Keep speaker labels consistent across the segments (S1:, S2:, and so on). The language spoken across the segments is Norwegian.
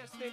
S1: listening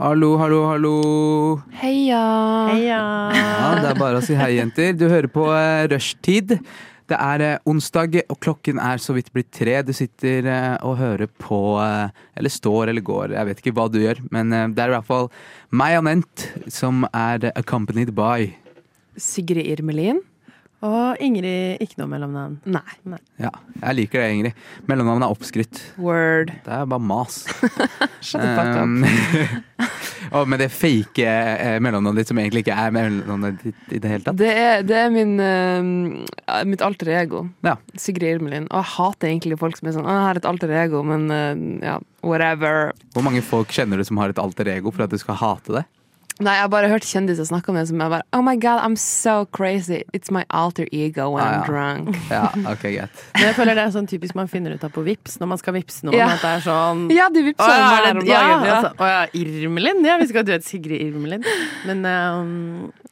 S2: Hallo, hallo, hallo.
S3: Heia.
S2: Ja, det er bare å si hei, jenter. Du hører på eh, Rushtid. Det er eh, onsdag, og klokken er så vidt blitt tre. Du sitter eh, og hører på, eh, eller står eller går, jeg vet ikke hva du gjør, men eh, det er i hvert fall meg, Anent, som er eh, accompanied by
S3: Sigrid Irmelin.
S4: Og Ingrid ikke noe mellomnavn.
S3: Nei.
S2: Ja, jeg liker det, Ingrid. Mellomnavnet er oppskrytt.
S3: Word.
S2: Det er bare mas.
S3: Shut the fuck up.
S2: og med det fake eh, mellomnavnet ditt, som egentlig ikke er mellomnavnet ditt i det hele tatt.
S3: Det er, det er min, eh, mitt alter ego.
S2: Ja.
S3: Sigrid Irmelin. Og jeg hater egentlig folk som er sånn «Å, 'Jeg har et alter ego', men eh, ja, whatever.
S2: Hvor mange folk kjenner du som har et alter ego for at du skal hate det?
S3: Nei, jeg har bare hørt kjendiser snakke om det som jeg bare Oh my god, I'm so crazy. It's my alter ego when
S2: Ah, ja.
S3: I'm drunk.
S2: Ja, ok, greit.
S4: Men jeg føler det er sånn typisk man finner ut av på Vips når man skal vippse noen.
S3: Ja.
S4: At det er sånn
S3: Ja, du
S4: Å
S3: vipsa
S4: ja,
S3: meg
S4: er
S3: her om
S4: det, ja,
S3: dagen. Ja.
S4: altså, å ja, Irmelin? Ja, vi skal du vet Sigrid Irmelin. Men ehm,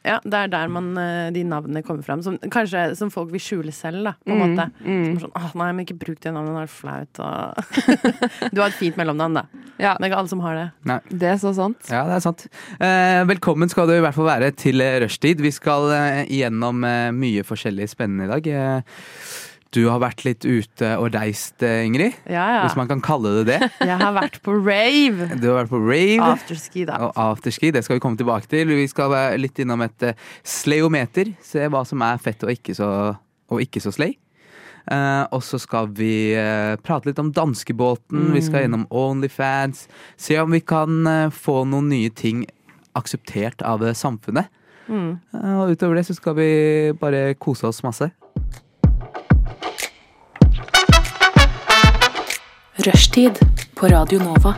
S4: ja, det er der man, eh, de navnene kommer fram. Som, kanskje som folk vil skjule selv, da, på en måte.
S3: Mm,
S4: Som er sånn, Åh, nei, men ikke bruk det navnet, det er flaut. Og... du har et fint mellomnavn, da.
S3: Ja,
S4: Men ikke alle som har det.
S3: det er så sant.
S2: Ja, det er sant. Eh, velkommen skal du i hvert fall være til eh, rushtid. Vi skal eh, gjennom eh, mye forskjellig spennende i dag. Eh, du har vært litt ute og reist, eh, Ingrid.
S4: Ja,
S2: Hvis
S4: ja.
S2: man kan kalle det det.
S4: Jeg har vært på rave.
S2: Du har vært på rave.
S4: Afterski, da.
S2: Og afterski, det skal vi komme tilbake til. Vi skal være litt innom et eh, sleometer. Se hva som er fett og ikke så, og ikke så slay. Eh, og så skal vi eh, prate litt om danskebåten. Vi
S4: Mm.
S2: skal gjennom Onlyfans. Se om vi kan eh, få noen nye ting akseptert av eh, samfunnet.
S4: Mm.
S2: Eh, og utover det så skal vi bare kose oss masse.
S5: Rushtid på Radio Nova.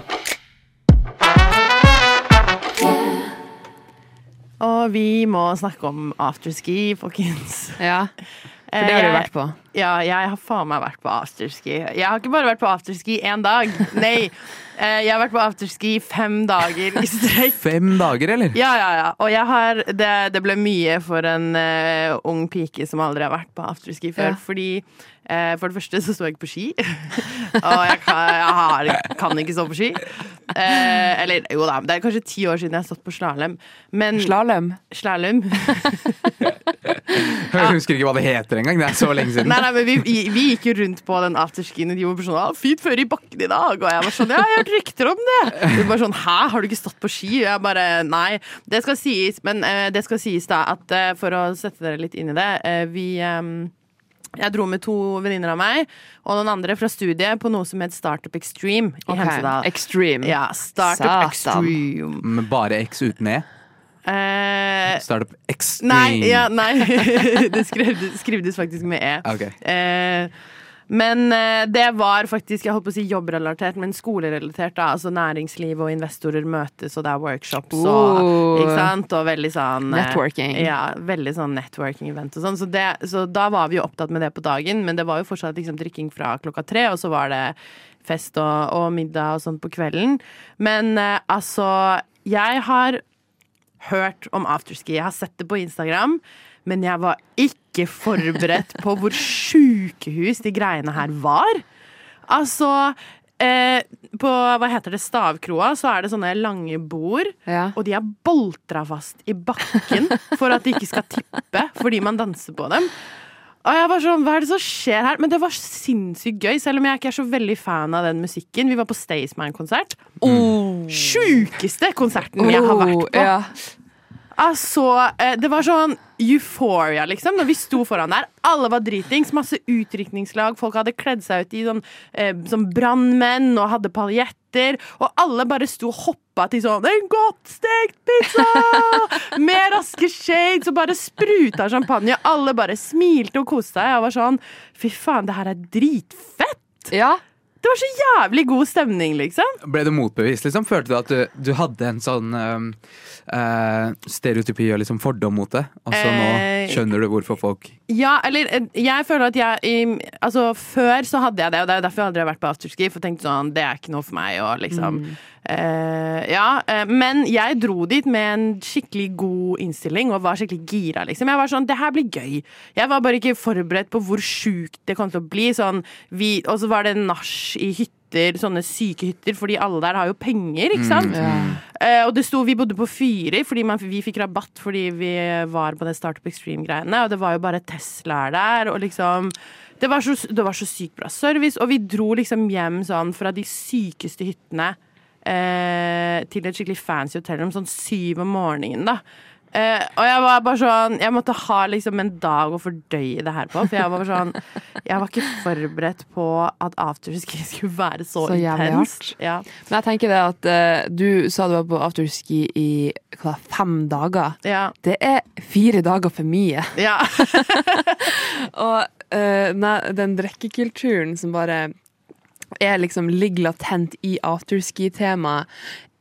S4: Og vi må snakke om afterski, folkens.
S3: Ja, for det har du vært på.
S4: Ja, jeg har faen meg vært på afterski. Jeg har ikke bare vært på afterski én dag. Nei. Eh, Jeg har vært på afterski fem dager i strekk.
S2: Fem dager, eller?
S4: Ja, ja, ja. Og jeg har Det, det ble mye for en eh, ung pike som aldri har vært på afterski før.
S3: Ja.
S4: Fordi eh, for det første så sto jeg ikke på ski. og jeg, kan, jeg har, kan ikke stå på ski. Eh, eller jo da, det er kanskje ti år siden jeg har stått på slalåm. Men
S3: Slalåm.
S4: Slalåm?
S2: Jeg husker ikke hva det heter engang. Det er så lenge siden.
S4: Nei, nei, men vi, vi gikk jo rundt på den afterskien, og de var bare sånn «Å, 'Fint føre i bakken i dag', og jeg var sånn 'Ja, jeg har hørt rykter om det'. De bare sånn 'Hæ, har du ikke stått på ski?' Og jeg bare Nei. Det skal sies, men eh, det skal sies da at eh, for å sette dere litt inn i det, eh, vi eh, jeg dro med to venninner av meg og noen andre fra studiet på noe som het Startup Extreme i
S3: Ok,
S4: Hemsedal.
S3: Extreme.
S4: ja, Startup
S3: Satan.
S4: Extreme.
S2: Men bare X uten E.
S4: Eh,
S2: Startup Extreme.
S4: Nei, ja, nei. det skrivdes, skrivdes faktisk med E.
S2: Ok.
S4: Eh, men eh, det var faktisk jeg holdt på å si jobbrelatert, men skolerelatert. da, altså Næringsliv og investorer møtes, og det er workshops og
S3: Oh.
S4: ikke sant? Og veldig sånn eh,
S3: Networking.
S4: Ja, veldig sånn networking-event og sånn. Så, det, så da var vi jo opptatt med det på dagen, men det var jo fortsatt liksom drikking fra klokka tre, og så var det fest og, og middag og sånn på kvelden. Men eh, altså, jeg har hørt om afterski. Jeg har sett det på Instagram, men jeg var ikke forberedt på hvor sjukehus de greiene her var. Altså eh, På hva heter det, Stavkroa så er det sånne lange bord,
S3: Ja.
S4: og de er boltra fast i bakken for at de ikke skal tippe fordi man danser på dem. Og jeg var sånn, hva er det som skjer her? Men det var sinnssykt gøy, selv om jeg ikke er så veldig fan av den musikken. Vi var på Staysman-konsert. Mm. Sjukeste konserten jeg har vært på.
S3: Oh, Ja.
S4: Altså, eh, det var sånn euphoria, liksom, når vi sto foran der. Alle var dritings, masse utrykningslag, folk hadde kledd seg ut i sånn, eh, som brannmenn og hadde paljetter, og alle bare sto og hoppa til sånn En godt stekt pizza! Med raske shades og bare spruta champagne. Alle bare smilte og koste seg. Jeg var sånn Fy faen, det her er dritfett!
S3: ja.
S4: Det var så jævlig god stemning, liksom.
S2: Ble du motbevist? liksom? Følte du at du, du hadde en sånn øhm, øh, stereotypi og liksom fordom mot det? Og så
S4: Eh,
S2: nå skjønner du hvorfor folk
S4: Ja, eller eh, jeg føler at jeg i- Altså, før så hadde jeg det, og det er jo derfor jeg aldri har vært på afterski, for jeg tenkte sånn, det er ikke noe for meg, og liksom eh, Ja. eh, men jeg dro dit med en skikkelig god innstilling og var skikkelig gira, liksom. Jeg var sånn, det her blir gøy. Jeg var bare ikke forberedt på hvor sjukt det kom til å bli. Sånn, vi, og så var det nach i hytter, sånne syke hytter, fordi alle der har jo penger, ikke sant? Eh, og det sto, vi bodde på Fyri, fordi man, vi fikk rabatt fordi vi var på det Startup Extreme-greiene. Og det var jo bare Teslaer der, og liksom det var, så, det var så sykt bra service. Og vi dro liksom hjem sånn fra de sykeste hyttene eh, til et skikkelig fancy hotell om sånn syv om morgenen, da. Eh, og jeg var bare sånn Jeg måtte ha liksom en dag å fordøye det her på. For jeg var bare sånn Jeg var ikke forberedt på at afterski skulle være så,
S3: Så jævlig
S4: intenst. Ja.
S3: Men jeg tenker det at eh, du sa du var på afterski i hva, fem dager.
S4: Ja.
S3: Det er fire dager for mye.
S4: ja.
S3: Og eh, nei, den drikkekulturen som bare er liksom ligger latent i afterski-temaet,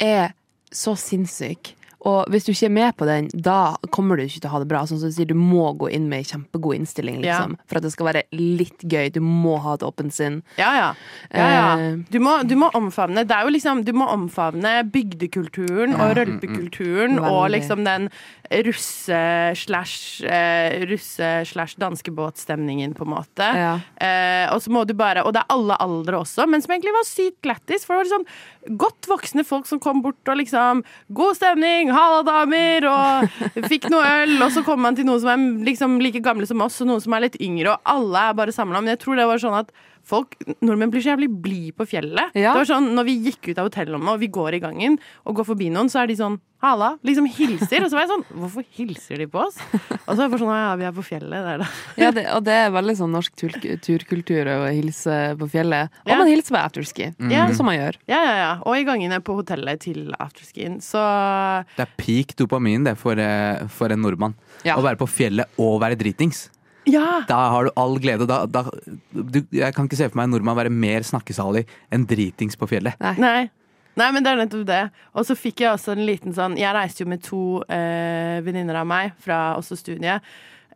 S3: er så sinnssyk. Og hvis du ikke er med på den, da kommer du ikke til å ha det bra. Sånn som du sier, du må gå inn med en kjempegod innstilling,
S4: Ja.
S3: liksom. For at det skal være litt gøy. Du må ha et åpent sinn.
S4: Ja, ja. ja, ja.
S3: Eh.
S4: Du, må, du må omfavne Det er jo liksom Du må omfavne bygdekulturen og rølpekulturen og
S3: Mm, Veldig.
S4: liksom den eh, russe-slash-russe-slash-danskebåtstemningen, på en måte.
S3: Ja.
S4: Eh, og så må du bare Og det er alle aldre også, men som egentlig var sykt lættis. For det var liksom godt voksne folk som kom bort og liksom God stemning, halla, damer! Og fikk noe øl. Og så kommer man til noen som er liksom like gamle som oss, og noen som er litt yngre, og alle er bare samla. Men jeg tror det var sånn at folk, nordmenn blir så jævlig blid på fjellet.
S3: Ja.
S4: Det var sånn, Når vi gikk ut av hotellrommet og vi går i gangen og går forbi noen, så er de sånn Halla! Liksom hilser. Og så var jeg sånn Hvorfor hilser de på oss? Og så er jeg bare sånn «Å Ja, vi er på fjellet. Det er det.
S3: Ja, det, og det er veldig sånn norsk tur turkultur å hilse på fjellet. Og
S4: Ja.
S3: man hilser på afterski.
S4: Ja.
S3: Det er som man gjør.
S4: Ja, ja, ja. Og i gangene på hotellet til afterskien. Så
S2: Det er peak dopamin det for, eh, for en nordmann.
S3: Ja.
S2: Å være på fjellet og være dritings.
S4: Ja!
S2: Da har du all glede. Da, da, du, jeg kan ikke se for meg en nordmann være mer snakkesalig enn dritings på fjellet.
S4: Nei. Nei, men det er nettopp det. Og så fikk jeg også en liten sånn Jeg reiste jo med to eh, venninner av meg fra også studiet.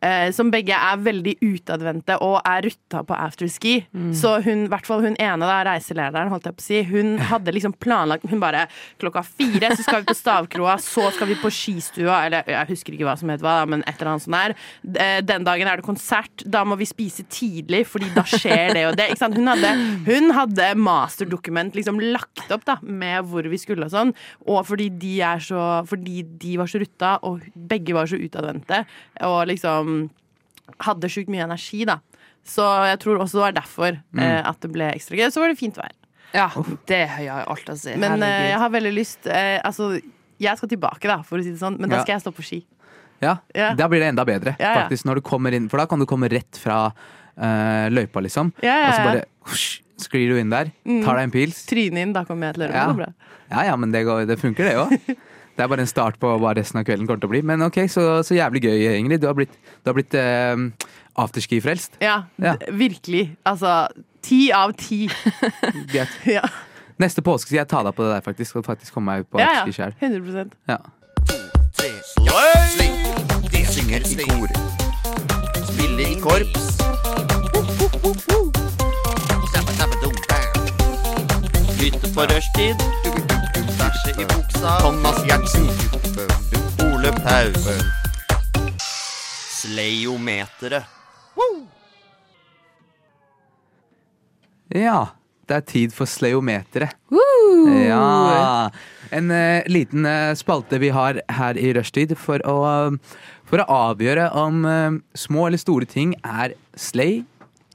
S4: Eh, som begge er veldig utadvendte og er rutta på afterski. Så hun, i hvert fall hun ene, da, reiselederen, holdt jeg på å si, hun hadde liksom planlagt Hun bare Klokka fire så skal vi på Stavkroa, så skal vi på skistua, eller jeg husker ikke hva som het hva, da, men et eller annet sånt der. Eh, Den dagen er det konsert, da må vi spise tidlig, fordi da skjer det og det. Ikke sant? Hun hadde, hun hadde masterdokument liksom lagt opp da, med hvor vi skulle og sånn. Og fordi de, er så, fordi de var så rutta, og begge var så utadvendte, og liksom hadde sjukt mye energi, da. Så jeg tror også det var derfor
S2: Mm.
S4: eh, at det ble ekstra gøy. Så var det fint vær.
S3: Ja, det har jeg alt å si.
S4: Men eh,
S3: Herregud.
S4: jeg har veldig lyst eh, Altså, jeg skal tilbake, da, for å si det sånn, men da
S2: Ja.
S4: skal jeg stå på ski.
S2: Ja,
S4: Ja.
S2: Da blir det enda bedre,
S4: Ja, ja.
S2: faktisk, når du kommer inn. For da kan du komme rett fra eh, løypa, liksom.
S4: Ja, Mm. ja,
S2: Og så
S4: ja.
S2: bare husk, sklir du inn der, tar deg en pils.
S4: Tryne inn, da kommer jeg til å gjøre
S2: Ja.
S4: det bra.
S2: Ja, ja, men det, går, det funker, det òg. Det er bare en start på hva resten av kvelden kommer til å bli. Men ok, så, så jævlig gøy, Ingrid. Du har blitt, du har blitt eh, afterski-frelst.
S4: Ja,
S2: Ja.
S4: d- virkelig. Altså, ti av ti.
S2: Greit.
S4: Ja,
S2: Neste påske skal jeg ta deg på det der, faktisk. Og faktisk komme meg ut på
S4: ja,
S2: afterski
S4: ja.
S2: sjøl.
S4: 100
S2: Ja.
S1: Oi!
S6: De synger i kor. Spiller i korps. Hytte på rushtid. Bæsje i buksa. Thomas Gjertsen. Ole Paus. Sleiometeret.
S2: ja. Det er tid for sleometeret. Ja. En eh, liten eh, spalte vi har her i rushtid for å, for å avgjøre om eh, små eller store ting er slay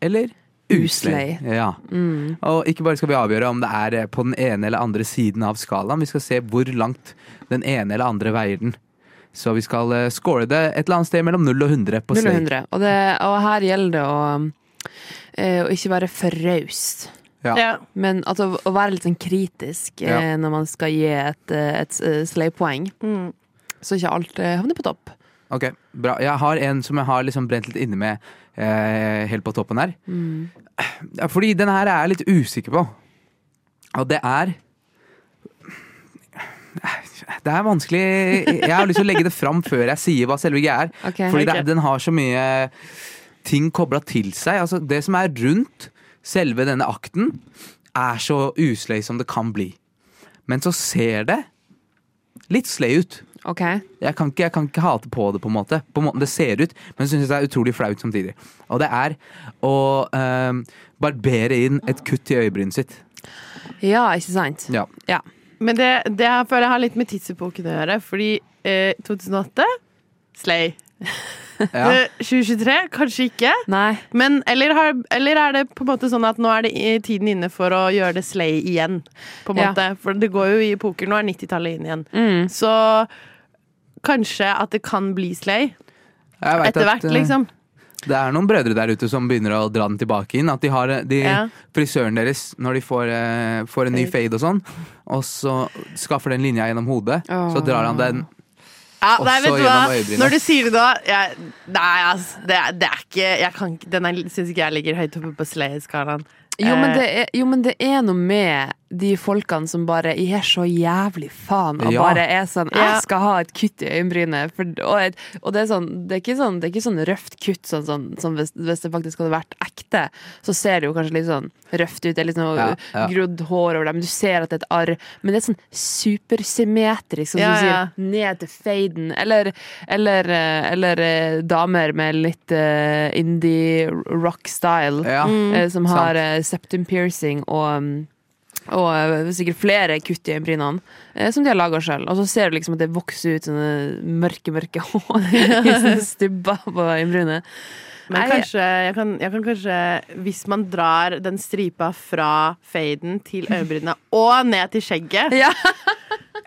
S2: eller uslay.
S3: Uslay.
S2: Ja. Og ikke bare skal vi avgjøre om det er eh, på den ene eller andre siden av skalaen, vi skal se hvor langt den ene eller andre veier den. Så vi skal eh, score det et eller annet sted mellom 0 og 100
S3: 0
S2: på
S3: og
S2: slay.
S3: 100. Og, det, og her gjelder det å, eh, å ikke være for raus.
S2: Ja.
S4: Ja.
S3: Men at å, å være litt sånn kritisk
S2: Ja.
S3: eh, når man skal gi et, eh, et eh, slay-poeng, så ikke alt eh, havner på topp.
S2: Ok, bra. Jeg har en som jeg har liksom brent litt
S3: Mm.
S2: inne med eh, helt på toppen her. Eh, Fordi den her er jeg litt usikker på. Og det er Det er vanskelig Jeg har lyst til å legge det fram før jeg sier hva selve greia er.
S3: Ok,
S2: fordi det,
S3: ok.
S2: den har så mye ting kobla til seg. Altså, det som er rundt selve denne akten, er så usløy som det kan bli. Men så ser det litt sløy ut.
S3: OK.
S2: Jeg kan, ikke, jeg kan ikke hate på det, på en måte. På en måte det ser ut, men så syns jeg det er utrolig flaut samtidig. Og det er å eh, barbere inn et kutt i øyebrynet sitt.
S3: Ja, ikke sant?
S2: Ja.
S3: Ja.
S4: Men det, det jeg føler jeg har litt med tidsepoken å gjøre, fordi eh, 2008 Slay.
S2: ja.
S4: Eh, 2023 kanskje ikke.
S3: Nei.
S4: Men, eller, har, eller er det på en måte sånn at nå er det i- tiden inne for å gjøre det slay igjen? På en
S3: Ja.
S4: måte. For det går jo i poker. Nå er 90-tallet inn igjen.
S2: Mm.
S4: Så kanskje at det kan bli slay
S2: Jeg vet
S4: etter
S2: at,
S4: hvert,
S2: eh,
S4: liksom.
S2: Det er noen brødre der ute som begynner å dra den tilbake inn. At de har eh, de,
S4: Ja.
S2: frisøren deres, når de får, eh, får en ny fade og sånn, og så skaffer den linja gjennom hodet, så drar han den
S4: Ja,
S2: også
S4: nei, vet du
S2: gjennom
S4: hva?
S2: øyebrynet.
S4: Når du sier det da jeg, Nei, altså. Det, er- det er ikke jeg kan, ikke- Den syns ikke jeg ligger høyt oppe på slay-skalaen.
S3: Jo men,
S4: Eh,
S3: det er, jo, men det er noe med de folkene som bare gir så jævlig faen, og
S2: Ja.
S3: bare er sånn
S4: Ja.
S3: 'Jeg skal ha et kutt i øyenbrynet'. For, og, et- og det er sånn Det er ikke sånn, det er ikke sånn røft kutt, sånn, sånn, som hvis, hvis det faktisk hadde vært ekte, så ser det jo kanskje litt sånn røft ut. Det er litt sånn
S2: Ja, ja.
S3: grodd hår over det, men du ser at det er et arr. Men det er sånn supersymmetrisk, som
S4: Ja,
S3: du
S4: ja.
S3: sier. Ned til faden. Eller, eller, eh, eller eh, damer med litt eh, indie rock style.
S2: Ja.
S4: Mm.
S3: Eh, som har
S2: Sant.
S3: eh, septum piercing og um, og eh, sikkert flere kutt i øyenbrynene, eh, som de har laga sjøl. Og så ser du liksom at det vokser ut sånne mørke, mørke hår i sånne stubber på øyenbrynet.
S4: Men
S3: Nei,
S4: kanskje, jeg kan, jeg kan kanskje Hvis man drar den stripa fra faden til øyebrynene og ned til skjegget
S3: Ja.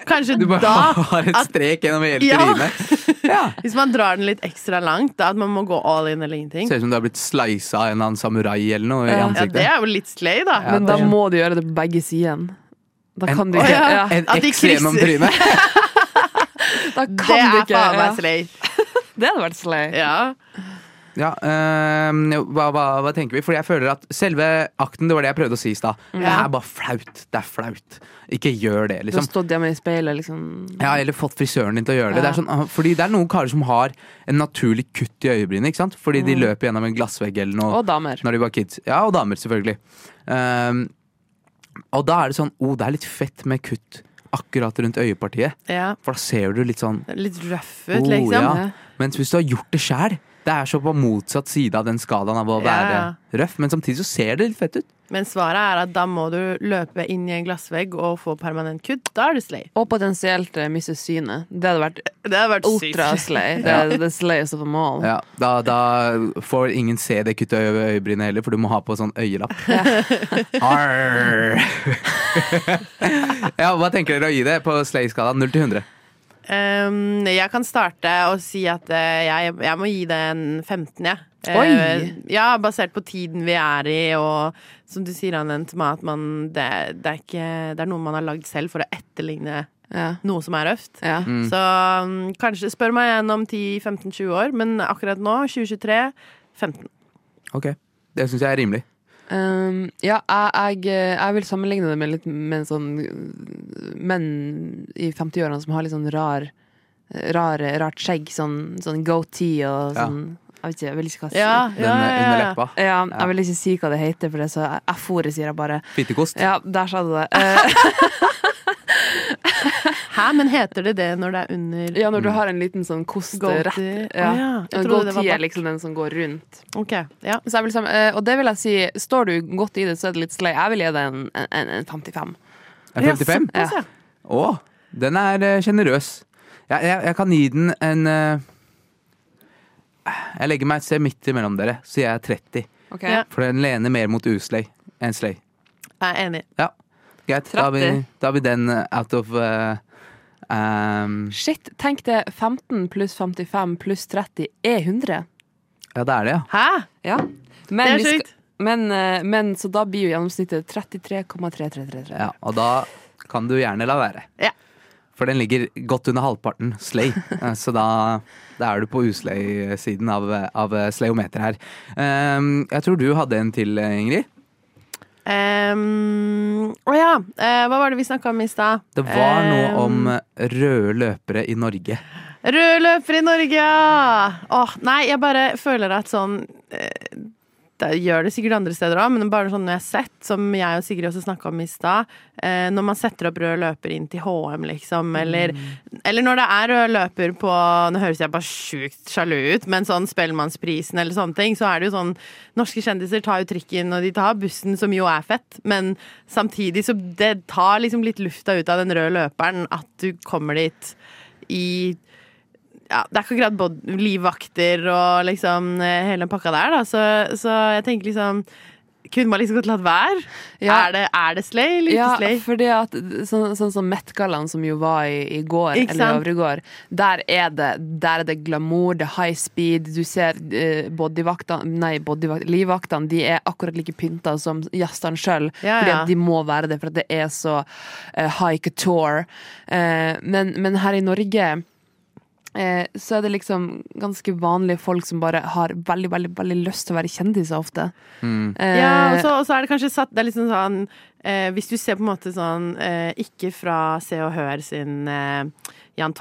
S4: Kanskje
S2: Du bare
S4: da
S2: har et
S4: at-
S2: strek gjennom hele
S4: Ja.
S2: trynet. Ja.
S4: Hvis man drar den litt ekstra langt, da at man må gå all in eller ingenting.
S2: Ser ut som du har blitt slisa av en eller annen samurai eller noe i
S3: Ja.
S4: Ja, det
S2: ansiktet.
S4: er jo litt slay, da.
S2: Ja,
S3: Men da
S2: det-
S3: må du gjøre det på begge sidene. Da kan du
S4: Å,
S3: ikke
S4: ja.
S3: ja,
S2: En
S4: At de
S2: X gjennom
S4: krysser.
S2: trynet.
S3: Da kan
S4: det
S3: du
S4: er
S3: ikke
S4: faen meg
S3: ja.
S4: slay.
S3: Det hadde vært slay.
S4: Ja.
S2: Ja, øhm, jo, hva, hva, hva tenker vi? Fordi jeg føler at selve akten, det var det jeg prøvde å si i stad.
S3: Mm.
S2: Det er bare flaut. Det er flaut. Ikke gjør det,
S3: Du har
S2: liksom.
S3: stått hjemme i speilet, liksom.
S2: Ja, eller fått frisøren din til å gjøre det.
S3: Ja.
S2: det er sånn, øh, fordi det er noen karer som har en naturlig kutt i øyebrynet. ikke sant? Fordi de løper gjennom en glassvegg eller noe
S3: Mm. Og damer.
S2: når de var kids. Ja, og damer, selvfølgelig. Øhm, og da er det sånn Å, oh, det er litt fett med kutt akkurat rundt øyepartiet.
S4: ja.
S2: For da ser du litt sånn
S4: Litt røff ut,
S2: Oh,
S4: liksom.
S2: ja. Mens hvis du har gjort det sjæl, det er så på motsatt side av den skalaen av å
S4: Ja,
S2: være
S4: ja.
S2: røff, men samtidig så ser det litt fett ut.
S4: Men svaret er at da må du løpe inn i en glassvegg og få permanent kutt. Da er det slay.
S3: Og potensielt eh, miste synet. Det hadde vært
S4: Det har vært
S3: ultra-slay. Det er det slayeste på mål.
S2: Ja, da, da får ingen se det kuttet over øyebrynet heller, for du må ha på sånn øyelapp. Arr. ja, hva tenker dere å gi det på Slay-skalaen 0 til 100?
S4: Ehm, jeg kan starte og si at eh, jeg, jeg må gi det en 15, jeg. Eh,
S3: Oi!
S4: ja, basert på tiden vi er i, og som du sier, han nevnte meg, at man, det, det, er ikke, det er noe man har lagd selv for å etterligne
S3: Ja.
S4: noe som er røft.
S3: Ja.
S4: Så mm, kanskje spør meg igjen om 10-15-20 år, men akkurat nå, 2023, 15.
S2: Ok, det syns jeg er rimelig.
S3: Um, ja, jeg, jeg, jeg vil sammenligne det med litt med en sånn øh, menn i 50-årene som har litt sånn rar, eh, rar rart skjegg, sånn, sånn goatee og
S2: Ja.
S3: sånn Jeg vet ikke, jeg vil ikke hva jeg
S4: Ja,
S2: Den eh, underleppa.
S3: sier. Ja, jeg vil ikke si hva det heter, for det er så F-ordet sier jeg bare.
S2: Fittekost.
S3: Ja, der sa du det. Eh,
S4: Hæ, men heter det det når det er under
S3: ja, når du har en liten sånn kost
S4: Goatee.
S3: rett.
S4: Å ja, jeg
S3: En
S4: trodde det var
S3: goatee
S4: bak.
S3: er liksom den som går rundt.
S4: OK. Ja.
S3: Så jeg vil, sam- eh, og det vil jeg si, står du godt i det, så er det litt slay. Jeg vil gi det en, en, en 55.
S2: Er 55?
S4: Ja, såpass, ja.
S2: Å, den er eh, sjenerøs. Jeg, jeg, jeg kan gi den en eh, Jeg legger meg et sted midt imellom dere, så jeg er 30.
S3: Ok?
S4: Ja.
S2: For den lener mer mot uslay enn slay.
S4: Jeg er enig.
S2: Ja, greit. Da har vi,
S3: 30.
S2: da har vi den eh, out of eh, ehm,
S3: Shit, tenk det. 15 pluss 55 pluss 30 er 100.
S2: Ja, det er det, ja.
S4: Hæ?
S3: Ja.
S4: Det
S3: Men,
S4: er
S3: vi skal,
S4: sjukt.
S3: men, eh, men så da blir jo gjennomsnittet 33,3333.
S2: ja. Og da kan du gjerne la være.
S4: Ja.
S2: For den ligger godt under halvparten slay. Eh, Så da, da er du på uslay-siden Um, av, av slayometer her. Ehm, jeg tror du hadde en til, eh, Ingrid.
S4: Ehm, Å ja, eh, hva var det vi snakka om i stad?
S2: Det var
S4: Ehm,
S2: noe om eh, røde løpere i Norge.
S4: Rød løper i Norge, ja! Åh, nei, jeg bare føler at sånn eh, Det gjør det sikkert andre steder òg, men bare sånn når jeg har sett, som jeg og Sigrid også snakka om i stad eh, Når man setter opp rød løper inn til HM, liksom, eller,
S2: Mm.
S4: eller når det er rød løper på Nå høres jeg bare sjukt sjalu ut, men sånn Spellemannsprisen eller sånne ting, så er det jo sånn Norske kjendiser tar jo trikken, og de tar bussen, som jo er fett, men samtidig så det tar liksom litt lufta ut av den røde løperen at du kommer dit i ja, det er ikke akkurat bod- livvakter og liksom eh, hele den pakka der, da. Så, så jeg tenker liksom Kunne man liksom godt latt være?
S3: Ja.
S4: Er, det, er det slay eller
S3: Ja,
S4: ikke slay?
S3: fordi at sånn, sånn som Met-gallaen som jo var i, i går,
S4: Ikke
S3: eller
S4: sant?
S3: overgår, der er det, der er det glamour, det er high speed, du ser eh, bodyvaktene, nei, bodyvakt, livvaktene, de er akkurat like pynta som jazzene sjøl,
S4: Ja,
S3: fordi
S4: ja.
S3: at de må være det, for at det er så eh, high couture. Eh, men, men her i Norge eh, så er det liksom ganske vanlige folk som bare har veldig, veldig, veldig lyst til å være kjendiser ofte. Eh,
S4: Ja, og så- og så er det kanskje satt Det er liksom sånn eh, Hvis du ser på en måte sånn eh, Ikke fra Se og Hør sin eh, Jan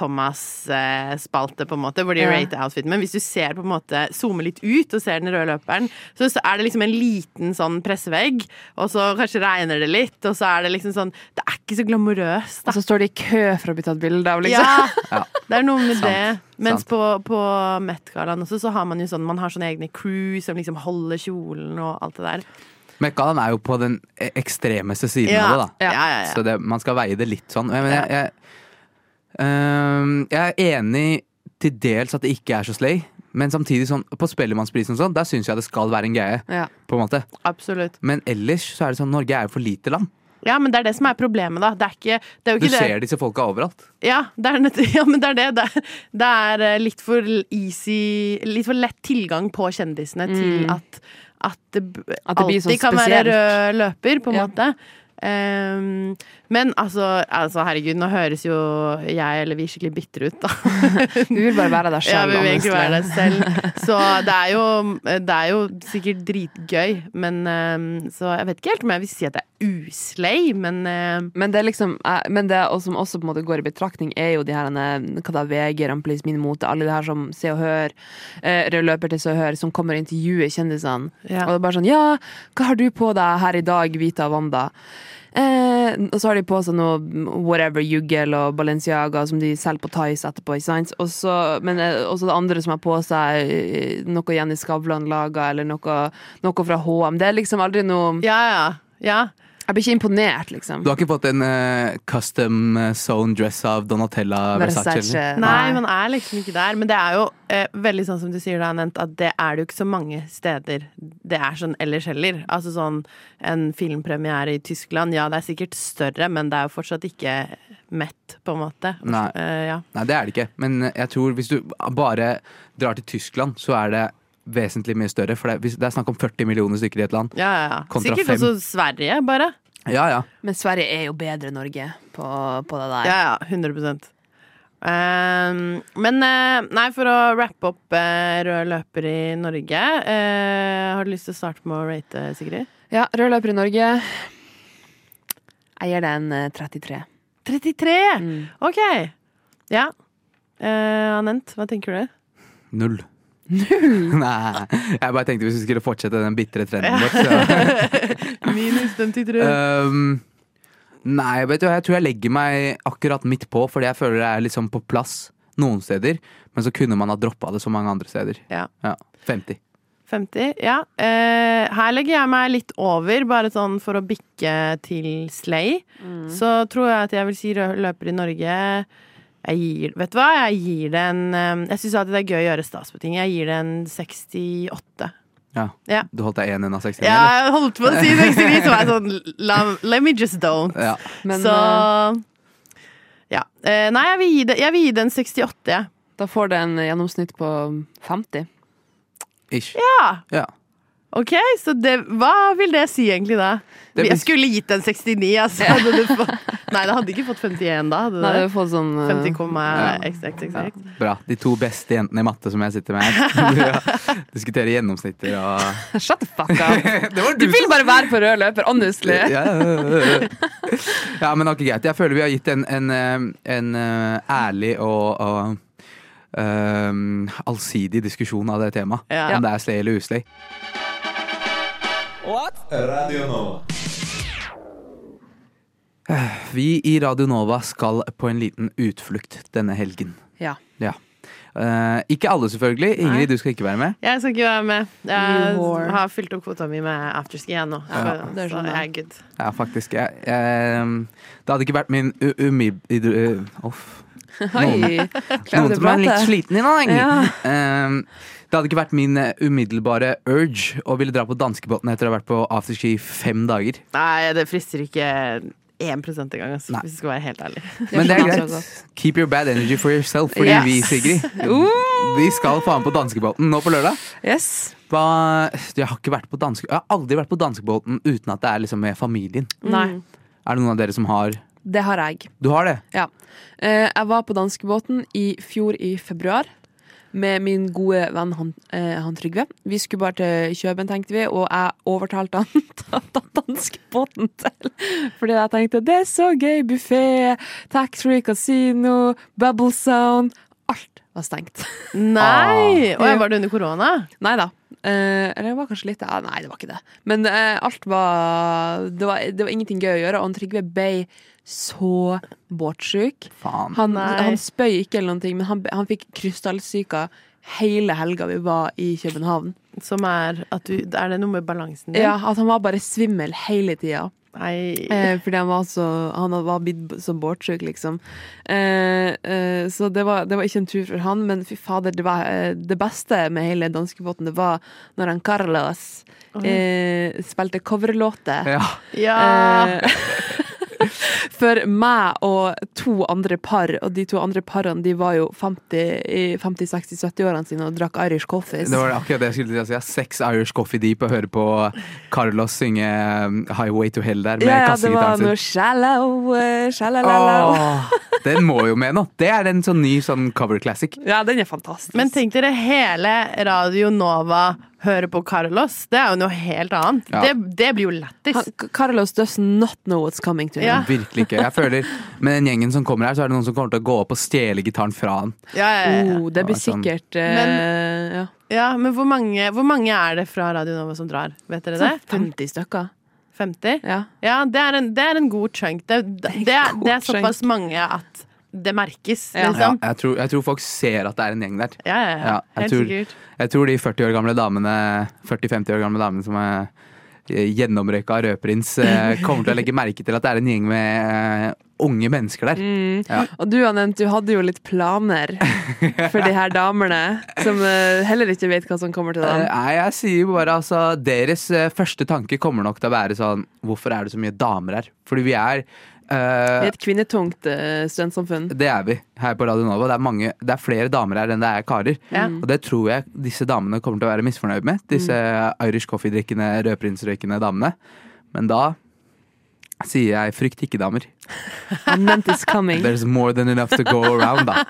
S4: Thomas-spalte, på en måte, hvor de
S3: Ja.
S4: rate outfiten. Men hvis du ser på en måte zoomer litt ut og ser den røde løperen, så, så er det liksom en liten sånn pressevegg, og så kanskje regner det litt, og så er det liksom sånn Det er ikke så glamorøst, da.
S3: og så står de i kø for å bli tatt bilde av, liksom.
S4: Ja, det er noe med
S2: Sant,
S4: det. Mens på, på Met-gallaen også, så har man jo sånn Man har sånne egne crew som liksom holder kjolen og alt det der.
S2: Mekkalan er jo på den e- ekstremeste siden av det, da.
S4: ja, ja, ja.
S2: Så det, man skal veie det litt sånn. Men jeg, jeg, øhm, jeg er enig til dels at det ikke er så slay, men samtidig sånn på Spellemannsprisen og sånn, der syns jeg det skal være en greie.
S3: Ja.
S2: På en måte.
S4: Absolutt.
S2: Men ellers så er det sånn, Norge er jo for lite land.
S4: Ja, men det er det som er problemet, da. Det er ikke, det er jo
S2: Du
S4: ikke det.
S2: ser disse folka overalt.
S4: Ja, det er, nett, ja, men det er det. Det er, det er eh, litt for easy Litt for lett tilgang på kjendisene til at, at det, b-
S3: Mm. At det blir
S4: alltid
S3: sånn
S4: kan
S3: spesielt.
S4: være rød løper, på en
S3: Ja.
S4: måte. Ehm, men altså, altså, herregud, nå høres jo jeg eller vi skikkelig bitre ut, da.
S3: Vi vil bare være der sjøl.
S4: Ja, vi vil egentlig være der selv. Så det er jo, det er jo sikkert dritgøy, men eh, Så jeg vet ikke helt om jeg vil si at det er uslei, men eh,
S3: Men det, er liksom, eh, men det og som også på en måte går i betraktning, er jo de her eh, hva da, VG, Rampelys, Min Mote, alle de her som Se og Hør, eh, Rød Løper til Se og Hør, som kommer og intervjuer kjendisene.
S4: Ja.
S3: Og det er bare sånn Ja, hva har du på deg her i dag, Vita og Wanda? Eh, og så har de på seg noe whatever, juggel og Balenciaga som de selger på Tice etterpå. ikke sant? Og så- men eh, også det andre som har på seg eh, noe Jenny Skavlan laga, eller noe, noe fra HM. Det er liksom aldri noe
S4: ja, ja. ja.
S3: Jeg blir ikke imponert, liksom.
S2: Du har ikke fått en eh, custom eh, sewn dress av Donatella Versace? eller?
S4: Nei, man er liksom ikke der. Men det er jo eh, veldig sånn som du sier, da, Anent, at det er det jo ikke så mange steder det er sånn ellers heller. Altså sånn en filmpremiere i Tyskland, ja det er sikkert større, men det er jo fortsatt ikke mett, på en måte.
S2: Nei.
S4: Eh, ja.
S2: Nei, det er det ikke. Men eh, jeg tror hvis du bare drar til Tyskland, så er det vesentlig mye større. For det, hvis, det er snakk om 40 millioner stykker i et land.
S4: Ja, ja, ja.
S2: Kontra
S4: Sikkert
S2: fem.
S4: også Sverige, bare.
S2: Ja, ja.
S3: Men Sverige er jo bedre enn Norge på, på det der.
S4: Ja, ja, 100 Ehm, Men eh, nei, for å rappe opp eh, rød løper i Norge eh, Har du lyst til å starte med å rate, Sigrid?
S3: Ja, rød løper i Norge. Jeg gir det en eh, 33.
S4: 33! Ok. Ja. Eh, Anent, hva tenker du?
S2: Null. Null? Nei, jeg bare tenkte hvis vi skulle fortsette den bitre trenden vår.
S4: Minus 53.
S2: Så. Um, nei, vet du, hva, jeg tror jeg legger meg akkurat midt på, fordi jeg føler det er liksom på plass noen steder. Men så kunne man ha droppa det så mange andre steder.
S4: Ja.
S2: 50.
S4: 50, ja. Eh, her legger jeg meg litt over, bare sånn for å bikke til Slay.
S3: Mm.
S4: Så tror jeg at jeg vil si rød løper i Norge. Jeg gir, vet du hva? Jeg gir det en eh, Jeg syns alltid det er gøy å gjøre stas på ting. Jeg gir det en 68.
S2: Ja.
S4: Ja.
S2: Du holdt deg én unna 60?
S4: Ja, jeg holdt på å si 69, så var jeg sånn la, Let me just don't.
S2: eller? Ja.
S3: Men
S4: så
S3: eh,
S4: Ja. Eh, nei, jeg vil gi det, jeg vil gi det en 68, jeg.
S3: da får det en gjennomsnitt på 50.
S2: Ish.
S4: Ja.
S2: Ja.
S4: Ok, så det, Hva vil det si egentlig da?
S2: Det-
S4: jeg skulle gitt den 69, altså. Hadde du fått, nei, det hadde ikke fått 51 da. Hadde
S3: Nei, det
S4: det?
S3: er jo få sånn eh,
S4: 50,
S2: Ja. Ja,
S4: xxxx.
S2: bra. De to beste jentene i matte som jeg sitter med her. Diskuterer gjennomsnitter og
S3: Shut the fuck up.
S2: Det var
S3: Du vil bare være på rød løper, honestly.
S2: Ja, ja, ja, ja. ja, men ok, greit. Jeg føler vi har gitt en, en, eh, en eh, ærlig og, og ehm, allsidig diskusjon av det temaet.
S4: Ja.
S2: Om det er slay eller uslay.
S1: Radio Nova.
S2: Vi i Radio Nova skal på en liten utflukt denne helgen.
S3: Ja.
S2: Ja. Eh, ikke alle, selvfølgelig. Ingrid, du skal ikke være med.
S4: Jeg skal ikke være med. Jeg
S3: You whore.
S4: har fylt opp kvota mi med afterski jeg nå. Så,
S3: Ja, det er
S4: så
S3: sånn, ja.
S4: jeg er good.
S2: Ja, faktisk. Jeg, jeg, det hadde ikke vært min u- umid... idru- øh, Off. Noen,
S3: Oi.
S2: noen
S3: det
S2: som
S3: bra
S2: er
S3: at
S2: litt
S3: jeg-
S2: sliten i dag.
S3: Ja.
S2: Ehm, det hadde ikke vært min eh, umiddelbare urge å ville dra på danskebåten etter å ha vært på afterski i fem dager.
S4: Nei, det frister ikke 1 engang, altså,
S2: Nei.
S4: hvis jeg skal være helt ærlig.
S2: Men det er
S3: skjønner jeg
S2: greit.
S3: så
S2: Keep your bad energy for yourself, fordi
S3: Yes.
S2: vi, Sigrid,
S3: Uh,
S2: vi skal faen på danskebåten nå på lørdag.
S3: yes.
S2: Hva, jeg, har ikke vært på danske, jeg har aldri vært på danskebåten uten at det er liksom med familien.
S3: Mm.
S4: Nei.
S2: Er det noen av dere som har
S3: Det har jeg.
S2: Du har det?
S3: Ja. Eh, jeg var på danskebåten i fjor i februar med min gode venn han, eh, han Trygve. Vi skulle bare til Kjøben, tenkte vi, og jeg overtalte han til å ta danskebåten til. Fordi jeg tenkte det er så gøy, buffé, tax-free casino, bubble sound. Alt var stengt.
S4: Nei!
S3: Ah.
S4: Og jeg var det under korona?
S3: Nei da. Eh, eller det var kanskje litt ja, Nei, det var ikke det. Men eh, alt var det, var det var ingenting gøy å gjøre, og han Trygve ble så båtsjuk.
S2: Faen.
S3: Han,
S4: Nei.
S3: han spøy ikke eller noen ting, men han, han fikk krystallsyka hele helga vi var i København.
S4: Som er at du Er det noe med balansen din?
S3: Ja, At han var bare svimmel hele tida.
S4: Nei.
S3: Eh, fordi han var, så, han var blitt b- så båtsjuk, liksom. Eh, eh, så det var, det var ikke en tur for han, men fy fader, det, var, eh, det beste med hele danskebåten, det var når han Carlos eh, spilte coverlåter.
S2: Ja.
S4: Ja.
S3: Eh, for meg og to andre par, og de to andre parene de var jo 50, i 50 60, 70-årene sine og drakk Irish coffees.
S2: Det var akkurat det jeg skulle til å si. Altså, Jeg har seks Irish Coffee Deep og hører på Carlos synge um, Highway to Hell der med
S3: ja, ja, det var
S2: kassegitaren
S3: noe
S2: sin.
S3: shallow, eh, shalala.
S2: Åh, den må jo med nå! Det er en sånn ny sånn cover classic.
S3: Ja, den er fantastisk.
S4: Men tenk dere, hele Radio Nova hører på Carlos. Det er jo noe helt annet.
S2: Ja.
S4: Det, det blir jo lættis.
S3: Han, Carlos does not know what's coming to him.
S4: Ja.
S2: Virkelig ikke. Jeg føler Med den gjengen som kommer her, så er det noen som kommer til å gå opp og stjele gitaren fra han.
S4: Ja, ja, ja.
S3: Oh, det blir
S2: Ja, sånn.
S3: sikkert eh,
S4: Men-
S3: ja.
S4: ja, men hvor mange, hvor mange er det fra Radio Nova som drar? Vet dere det?
S3: sånn 50 stykker.
S4: 50?
S3: Ja.
S4: Ja, det er en, det er en god chunk. Det, det, det, er, det er
S3: god chunk.
S4: såpass mange at det merkes,
S3: Ja.
S2: Ja,
S4: liksom.
S2: jeg, tror, jeg tror folk ser at det er en gjeng der.
S4: Ja, ja, ja.
S2: Ja, jeg
S4: Helt
S2: tror-
S4: sikkert.
S2: Jeg tror de 40 år gamle damene 40-50 år gamle damene som er eh, gjennomrøyka rødprins, eh, kommer til å legge merke til at det er en gjeng med eh, unge mennesker der.
S3: Og du, Anent, du hadde jo litt planer for de her damene, som eh, heller ikke vet hva som kommer til
S2: Eh,
S3: dem.
S2: Nei, jeg sier bare altså Deres eh, første tanke kommer nok til å være sånn Hvorfor er det så mye damer her? Fordi vi er
S3: I
S2: eh,
S3: et kvinnetungt eh, studentsamfunn.
S2: Det er vi her på Radio Nova. Det er, mange, det er flere damer her enn det er karer.
S4: Ja.
S3: Mm.
S2: Og det tror jeg disse damene kommer til å være misfornøyd med. Disse
S3: Mm.
S2: Irish coffee-drikkende, rødprinsrøykende damene. Men da sier jeg frykt ikke, damer.
S3: Anent is coming.
S2: There's more than enough to go around, da.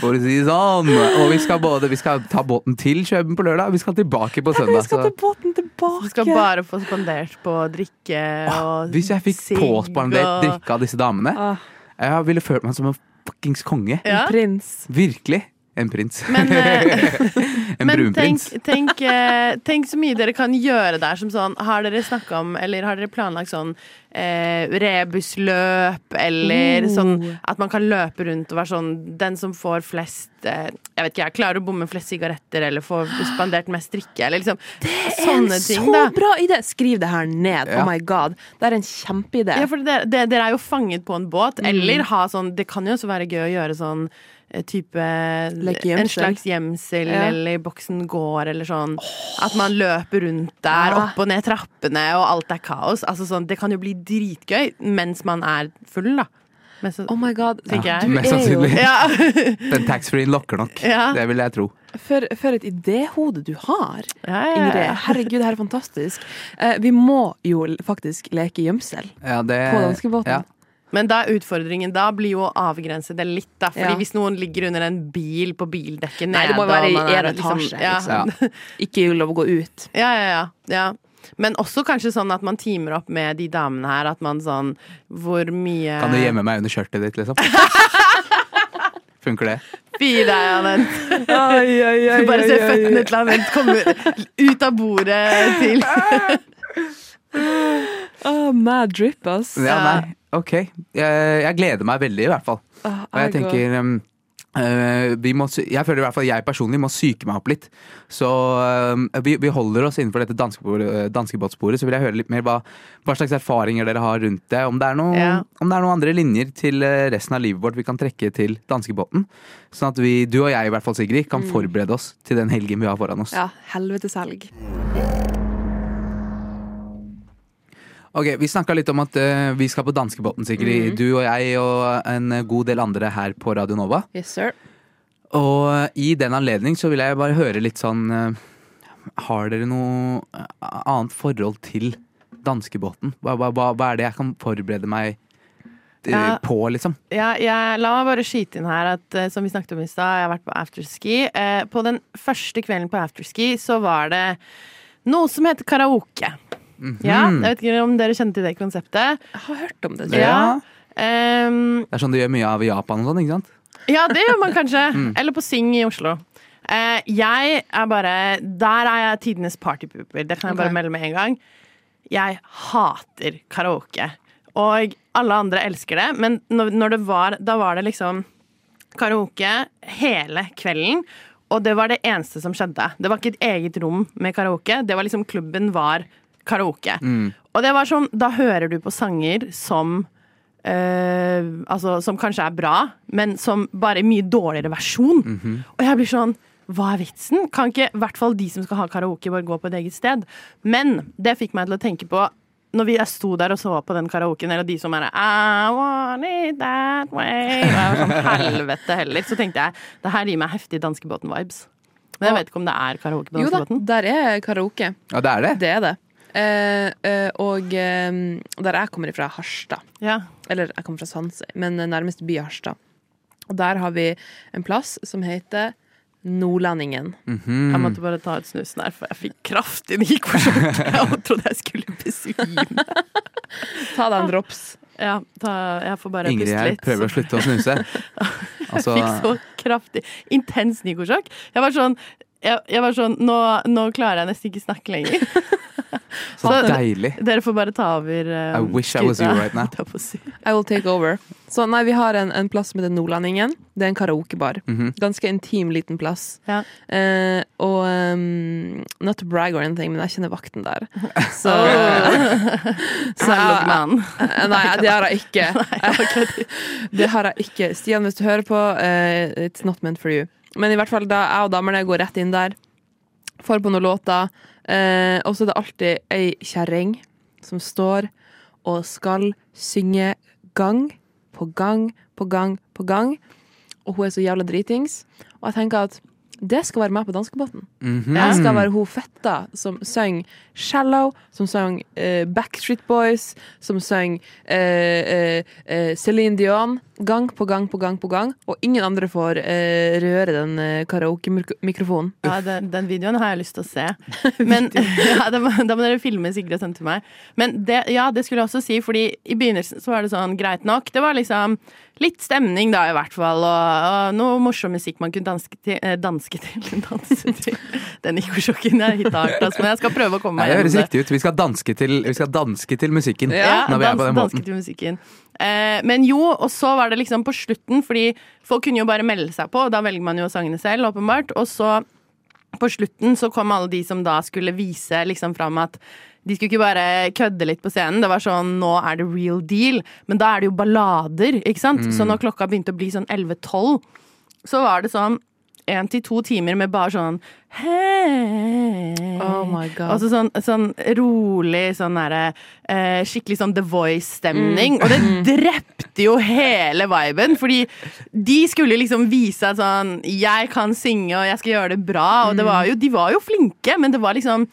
S2: For å si det sånn. Og vi skal, både, vi skal ta båten til Kjøben på lørdag, og vi skal tilbake på
S3: Vi
S2: søndag.
S3: skal
S2: så-
S3: ta båten
S4: Du
S3: tilbake!
S4: skal bare få spandert på drikke og
S2: Hvis jeg fikk
S4: sigg
S2: påspandert
S4: og-
S2: drikke av disse damene,
S3: Ah.
S2: jeg ville følt meg som en fuckings konge.
S4: Ja.
S3: Prins.
S2: Virkelig. En prins.
S4: Men, eh,
S2: en
S4: men tenk,
S2: brunprins.
S4: tenk, eh, tenk så mye dere kan gjøre der som sånn Har dere snakka om, eller har dere planlagt sånn eh, rebusløp, eller sånn at man kan løpe rundt og være sånn Den som får flest eh, Jeg vet ikke, jeg klarer å bomme flest sigaretter, eller får spandert mest drikke, eller liksom Sånne ting,
S3: så
S4: da.
S3: bra idé! Skriv det her ned.
S2: Ja.
S3: Oh my god. Det er en kjempeidé.
S4: Ja, for dere, dere, dere er jo fanget på en båt,
S3: Mm.
S4: eller ha sånn Det kan jo også være gøy å gjøre sånn eh, type En
S3: gjemsel.
S4: slags gjemsel,
S3: Ja.
S4: eller boksen går, eller sånn. At man løper rundt der,
S3: Ja.
S4: opp og ned trappene, og alt er kaos. Altså sånn, Det kan jo bli dritgøy mens man er full, da. Men så,
S3: Oh my god.
S4: Tenker jeg.
S3: Du
S2: Mest
S3: er jo
S2: sannsynlig.
S4: ja.
S2: Den taxfree-en lokker nok.
S4: Ja.
S2: Det vil jeg tro.
S3: for, for et idéhode du har,
S4: Ja, ja, ja.
S3: Ingrid. Herregud, det her er fantastisk. Eh, vi må jo l- faktisk leke gjemsel
S2: Ja, det,
S3: på danskebåten.
S2: ja.
S4: Men da er utfordringen da blir jo å avgrense det litt, da. Fordi
S3: Ja.
S4: hvis noen ligger under en bil på bildekket
S3: Nei,
S4: nede
S3: det må jo være
S4: og
S3: i
S4: man er
S3: en etasje,
S4: ja.
S3: liksom. Ikke lov å gå ut.
S4: Ja, ja, ja, ja. Men også kanskje sånn at man teamer opp med de damene her. At man sånn Hvor mye
S2: Kan du gjemme meg under skjørtet ditt, liksom? Funker det?
S4: Fy deg, Anette.
S3: Ai, ai, ai,
S4: Du bare ser føttene til Anette komme ut av bordet til
S3: Å, mad drip, ass.
S2: Ja,
S4: Ja.
S2: nei. Ok. Jeg, jeg gleder meg veldig, i hvert fall.
S3: Å,
S2: Og jeg
S3: ergo.
S2: tenker um, eh, vi må, sy- Jeg føler i hvert fall jeg personlig må syke meg opp litt. Så um, vi, vi holder oss innenfor dette danskebord- danskebåtsporet. Så vil jeg høre litt mer hva, hva slags erfaringer dere har rundt det. Om det, er noe,
S4: Ja.
S2: om det er noen andre linjer til eh, resten av livet vårt vi kan trekke til danskebåten. Sånn at vi, du og jeg i hvert fall, Sigrid, kan forberede oss til den helgen vi har foran oss.
S3: Mm. Ja, helvetes helg.
S2: Ok, Vi snakka litt om at eh, vi skal på danskebåten,
S3: Mm.
S2: Sigrid. Du og jeg og en god del andre her på Radio Nova.
S3: Yes, sir.
S2: Og eh, i den anledning så vil jeg bare høre litt sånn eh, Har dere noe eh, annet forhold til danskebåten? Hva, hva, hva, hva er det jeg kan forberede meg eh,
S4: Ja.
S2: på, liksom?
S4: ja, jeg, La meg bare skyte inn her at eh, som vi snakket om i stad, jeg har vært på afterski. Eh, på den første kvelden på afterski så var det noe som heter karaoke.
S2: Mhm.
S4: Ja, jeg vet ikke om dere kjenner til det konseptet.
S3: Jeg har hørt om det.
S2: Ja.
S4: Ehm,
S2: Det er sånn du gjør mye av i Japan og sånn, ikke sant?
S4: ja, det gjør man kanskje. Eller på Sing i Oslo. Eh, jeg er bare Der er jeg tidenes partypooper. Det kan jeg bare
S3: Ok.
S4: melde med en gang. Jeg hater karaoke. Og alle andre elsker det, men når, når det var, da var det liksom karaoke hele kvelden. Og det var det eneste som skjedde. Det var ikke et eget rom med karaoke. Det var liksom Klubben var karaoke. Og det var sånn, da hører du på sanger som eh, altså, Som kanskje er bra, men som bare i mye dårligere versjon.
S3: Mhm.
S4: Og jeg blir sånn hva er vitsen? Kan ikke i hvert fall de som skal ha karaoke, bare gå på et eget sted? Men det fikk meg til å tenke på når vi jeg sto der og så på den karaoken, eller de som bare I want it that way. Og jeg var sånn, helvete heller. Så tenkte jeg det her gir meg heftig danskebåten-vibes. Men jeg vet ikke om det er karaoke på
S3: Jo da,
S4: danskebåten.
S3: der er karaoke.
S2: Ja, det er det.
S3: Det er det. Eh, eh, og eh, der jeg kommer ifra, Harstad.
S4: Ja.
S3: Eller jeg kommer fra Sandsøy, men nærmest by Harstad. Og der har vi en plass som heter Nordlendingen.
S4: Jeg måtte
S2: Mm.
S4: bare ta et snusen her, for jeg fikk kraftig nikkeforsøk og trodde jeg skulle besvime.
S3: Ta deg en drops.
S4: Ja, ta, jeg får bare
S2: Ingrid
S4: puste
S2: her
S4: litt.
S2: prøver å
S4: så-
S2: slutte å snuse. Altså,
S4: Jeg fikk så kraftig, intens nikosjokk. Jeg var sånn, jeg, jeg var sånn nå, nå klarer jeg nesten ikke snakke lenger.
S2: så
S4: så-
S2: deilig.
S4: Dere får bare ta over eh,
S2: I wish I was you
S4: skuta.
S2: right now.
S4: Holdt jeg på å si.
S3: I will take over. Så nei, vi har en, en plass som heter Nordlendingen. Det er en karaokebar. Ganske intim, liten plass.
S4: Ja.
S3: Eh, og um, not to brag or anything, men jeg kjenner vakten der. Så, så jeg,
S4: Snellogmannen.
S3: Eh, Nei, det har jeg ikke. det har jeg ikke. Stian, hvis du hører på, eh, it's not meant for you. Men i hvert fall, da jeg og damene går rett inn der, får på noen låter, eh, og så er det alltid ei kjerring som står og skal synge gang på gang på gang på gang, og hun er så jævla dritings. Og jeg tenker at det skal være meg på danskebåten.
S2: Mhm.
S3: Jeg skal være hun fetta som sang Shallow, som sang eh, Backstreet Boys, som sang eh, eh, eh, Celine Dion. Gang på gang på gang på gang. Og ingen andre får eh, røre den eh, karaoke-mikrofonen.
S4: Ja, den, den videoen har jeg lyst til å se. Men, ja, da, må, da må dere filme Sigrid og sende til meg. Men det, ja, det skulle jeg også si, fordi i begynnelsen så var det sånn greit nok. Det var liksom litt stemning da, i hvert fall, og, og noe morsom musikk man kunne danske til. Eh, danske til, danse til. Den nikosjokken er hit hardt, altså, men jeg skal prøve å komme
S2: Nei,
S4: meg
S2: det høres
S4: gjennom det.
S2: riktig ut. Vi skal danske til, vi skal danske til musikken.
S4: Ja,
S2: når vi er
S4: dans,
S2: på den
S4: danske
S2: båten.
S4: til musikken. Eh, men jo, og så var det liksom på slutten, fordi folk kunne jo bare melde seg på, og da velger man jo sangene selv, åpenbart. Og så på slutten så kom alle de som da skulle vise liksom fram at de skulle ikke bare kødde litt på scenen. Det var sånn nå er det real deal. Men da er
S2: Mm.
S4: det jo ballader, ikke sant? Så når klokka begynte å bli sånn 11-12, så var det sånn én til to timer med bare sånn Hei
S3: Oh my God.
S4: Og så sånn, sånn rolig, sånn derre eh, Skikkelig sånn The
S3: Mm.
S4: Voice-stemning. Og det drepte jo hele viben, fordi de skulle liksom vise at sånn Jeg kan synge, og jeg skal gjøre det bra, og
S3: Mm.
S4: det var jo, de var jo flinke, men det var liksom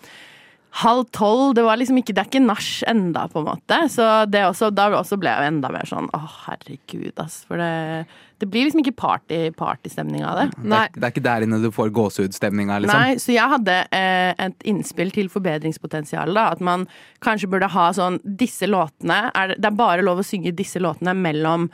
S4: Halv tolv, det var liksom ikke, det er ikke nach enda, på en måte. Så det også, da også ble jeg jo enda mer sånn å, herregud, ass. For det, det blir liksom ikke party, partystemning av det.
S2: Det
S3: Nei.
S2: er, det er ikke der inne du får gåsehudstemninga, liksom.
S4: Nei, så jeg hadde eh, et innspill til forbedringspotensial. Da, at man kanskje burde ha sånn Disse låtene er, det- Det er bare lov å synge disse låtene mellom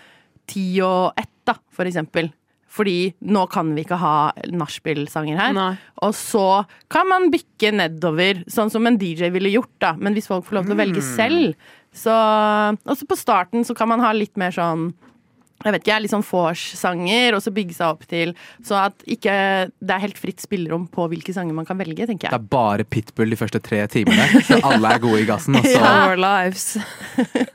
S4: ti og ett, da, for eksempel. Fordi nå kan vi ikke ha nachspiel-sanger her.
S3: Nei.
S4: Og så kan man bykke nedover, sånn som en DJ ville gjort, da. Men hvis folk får lov til å velge selv, så Og så på starten så kan man ha litt mer sånn jeg vet ikke, jeg er litt sånn vors-sanger, og så bygge seg opp til Så at ikke det er helt fritt spillerom på hvilke sanger man kan velge, tenker
S2: Det
S4: jeg.
S2: er bare pitbull de første tre timene, så alle er gode i gassen. Og så
S3: Our lives.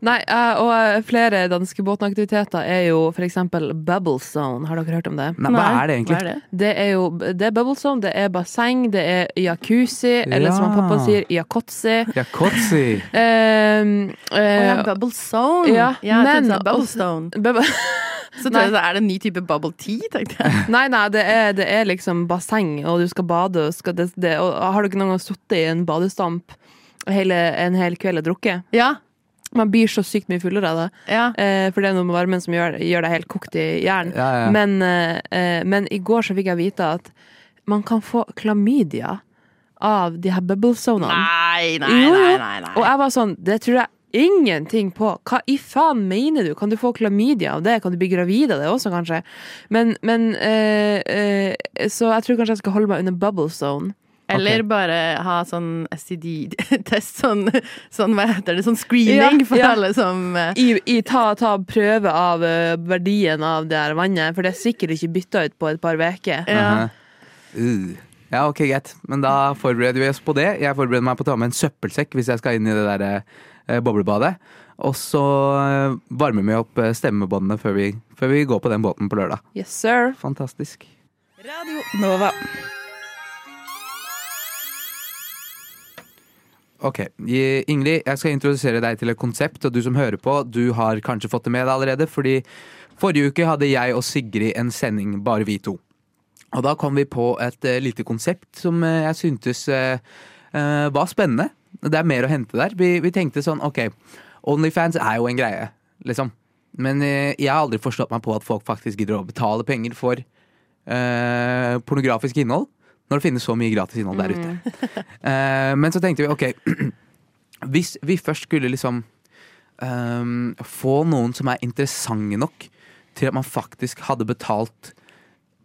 S3: Nei, eh, og eh, flere danskebåtenaktiviteter er jo for eksempel Bubble Zone. Har dere hørt om det?
S2: Nei, hva er det
S4: Hva er
S2: egentlig?
S4: det?
S3: Det er jo det er bubble zone, det er basseng, det er jacuzzi, eller som
S2: Ja.
S3: han pappa sier, jacuzzi.
S2: Yakotzi.
S3: Ehm,
S4: Å ja,
S3: eh,
S4: Bubble Zone.
S3: ja,
S4: jeg
S3: men
S4: tenkte det var Bubble
S3: også-
S4: Stone.
S3: bubble-
S4: Så
S3: Nei.
S4: tenkte jeg, er det en ny type bubble tea, tenkte jeg.
S3: nei, nei, det er, det er liksom basseng, og du skal bade. Og skal det, det, og har du ikke noen gang sittet i en badestamp hele, en hel kveld og drukket?
S4: Ja,
S3: Man blir så sykt mye fullere av det.
S4: ja.
S3: Eh, for det er noe med varmen som gjør, gjør deg helt kokt i hjernen.
S2: Ja, ja.
S3: Men, eh, eh, men i går så fikk jeg vite at man kan få klamydia av de her bubble zonene.
S4: Nei, nei,
S3: Jo, jo.
S4: nei, nei, nei.
S3: Og jeg var sånn, det tror jeg ingenting på. Hva i faen mener du? Kan du få klamydia av det? Kan du bli gravid av det også, kanskje? Men, men eh, eh, Så jeg tror kanskje jeg skal holde meg under bubble zone.
S4: Eller bare ha sånn STD-test, sånn, sånn hva heter det, sånn screening
S3: Ja,
S4: for
S3: ja.
S4: alle som eh,
S3: I, i ta, ta prøve av eh, verdien av det her vannet, for det er sikkert ikke bytta ut på et par uker.
S2: Aha. Uh. Ja, ok, greit. Men da forbereder vi oss på det. Jeg forbereder meg på å ta med en søppelsekk hvis jeg skal inn i det der eh, boblebadet. Og så eh, varmer vi opp eh, stemmebåndene før vi, før vi går på den båten på lørdag.
S3: Yes, sir.
S2: Fantastisk.
S7: Radio Nova.
S2: Ok, I- Ingrid, jeg skal introdusere deg til et konsept, og du som hører på, du har kanskje fått det med deg allerede, fordi forrige uke hadde jeg og Sigrid en sending, bare vi to. Og da kom vi på et eh, lite konsept som eh, jeg syntes eh, eh, var spennende. Det er mer å hente der. Vi, vi tenkte sånn, ok, Onlyfans er jo en greie, liksom. Men eh, jeg har aldri forstått meg på at folk faktisk gidder å betale penger for eh, pornografisk innhold, når det finnes så mye gratis innhold der ute. Eh, men så tenkte vi ok, hvis vi først skulle liksom ehm, få noen som er interessante nok til at man faktisk hadde betalt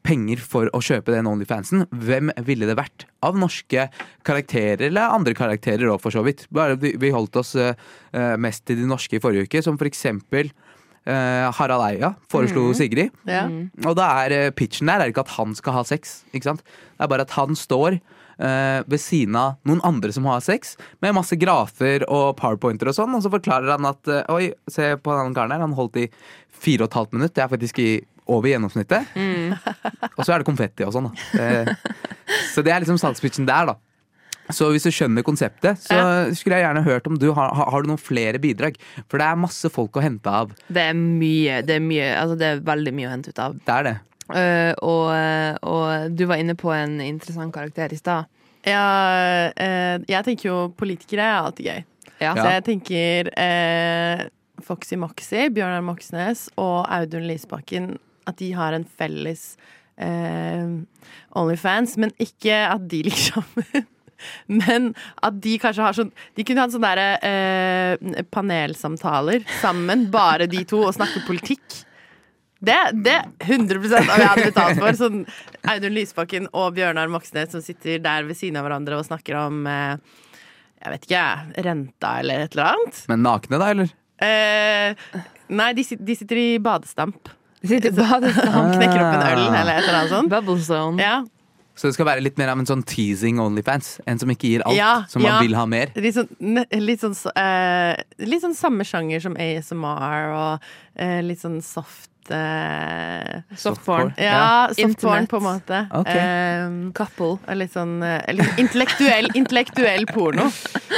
S2: penger for å kjøpe den Onlyfansen, hvem ville det vært? Av norske karakterer, eller andre karakterer òg, for så vidt. Bare vi vi holdt oss eh, eh, mest til de norske i forrige uke, som for eksempel eh, Harald Eia foreslo Sigrid.
S4: ja.
S2: Og da er eh, pitchen der er ikke at han skal ha sex. Ikke sant? Det er bare at han står eh, ved siden av noen andre som har sex, med masse grafer og powerpointer og sånn, og så forklarer han at eh, Oi, se på den andre karen her, han holdt i fire og et halvt minutt. Det er faktisk i over gjennomsnittet. og så er det konfetti og sånn, da. Eh, så det er liksom salgspitchen der, da. Så hvis du skjønner konseptet, så skulle jeg gjerne hørt om du har, har har du noen flere bidrag. For det er masse folk å hente av.
S3: Det er mye, det er mye Altså det er veldig mye å hente ut av.
S2: Det er det.
S3: Eh, og, og du var inne på en interessant karakter i stad.
S4: Ja, eh, jeg tenker jo politikere er alltid gøy.
S3: Ja.
S4: Så jeg tenker eh, Foxy Moxy, Bjørnar Moxnes og Audun Lysbakken. At de har en felles eh, Onlyfans, men ikke at de ligger sammen. Men at de kanskje har sånn De kunne hatt sånne der, eh, panelsamtaler sammen, bare de to, og snakke politikk. Det det 100 av jeg hadde betalt for. Sånn Audun Lysbakken og Bjørnar Moxnes som sitter der ved siden av hverandre og snakker om eh, jeg vet ikke, renta eller et eller annet.
S2: Men nakne, da, eller?
S4: Eh, nei, de, sit- de sitter i badestamp.
S3: Sitter i badestamp. Ah.
S4: Han knekker opp en øl eller et eller annet sånt.
S3: Bubble zone.
S4: Ja,
S2: Så det skal være litt mer av en sånn teasing Onlyfans? En som ikke gir alt,
S4: Ja,
S2: som man
S4: ja.
S2: vil ha mer?
S4: litt sånn, ne- litt sånn, s- eh, litt sånn samme sjanger som ASMR og eh, litt sånn soft het eh,
S3: Softporn.
S4: Ja,
S3: Internett.
S4: softporn på en måte.
S2: Ok.
S4: Eh,
S3: Couple.
S4: og litt sånn eh, litt intellektuell, intellektuell porno.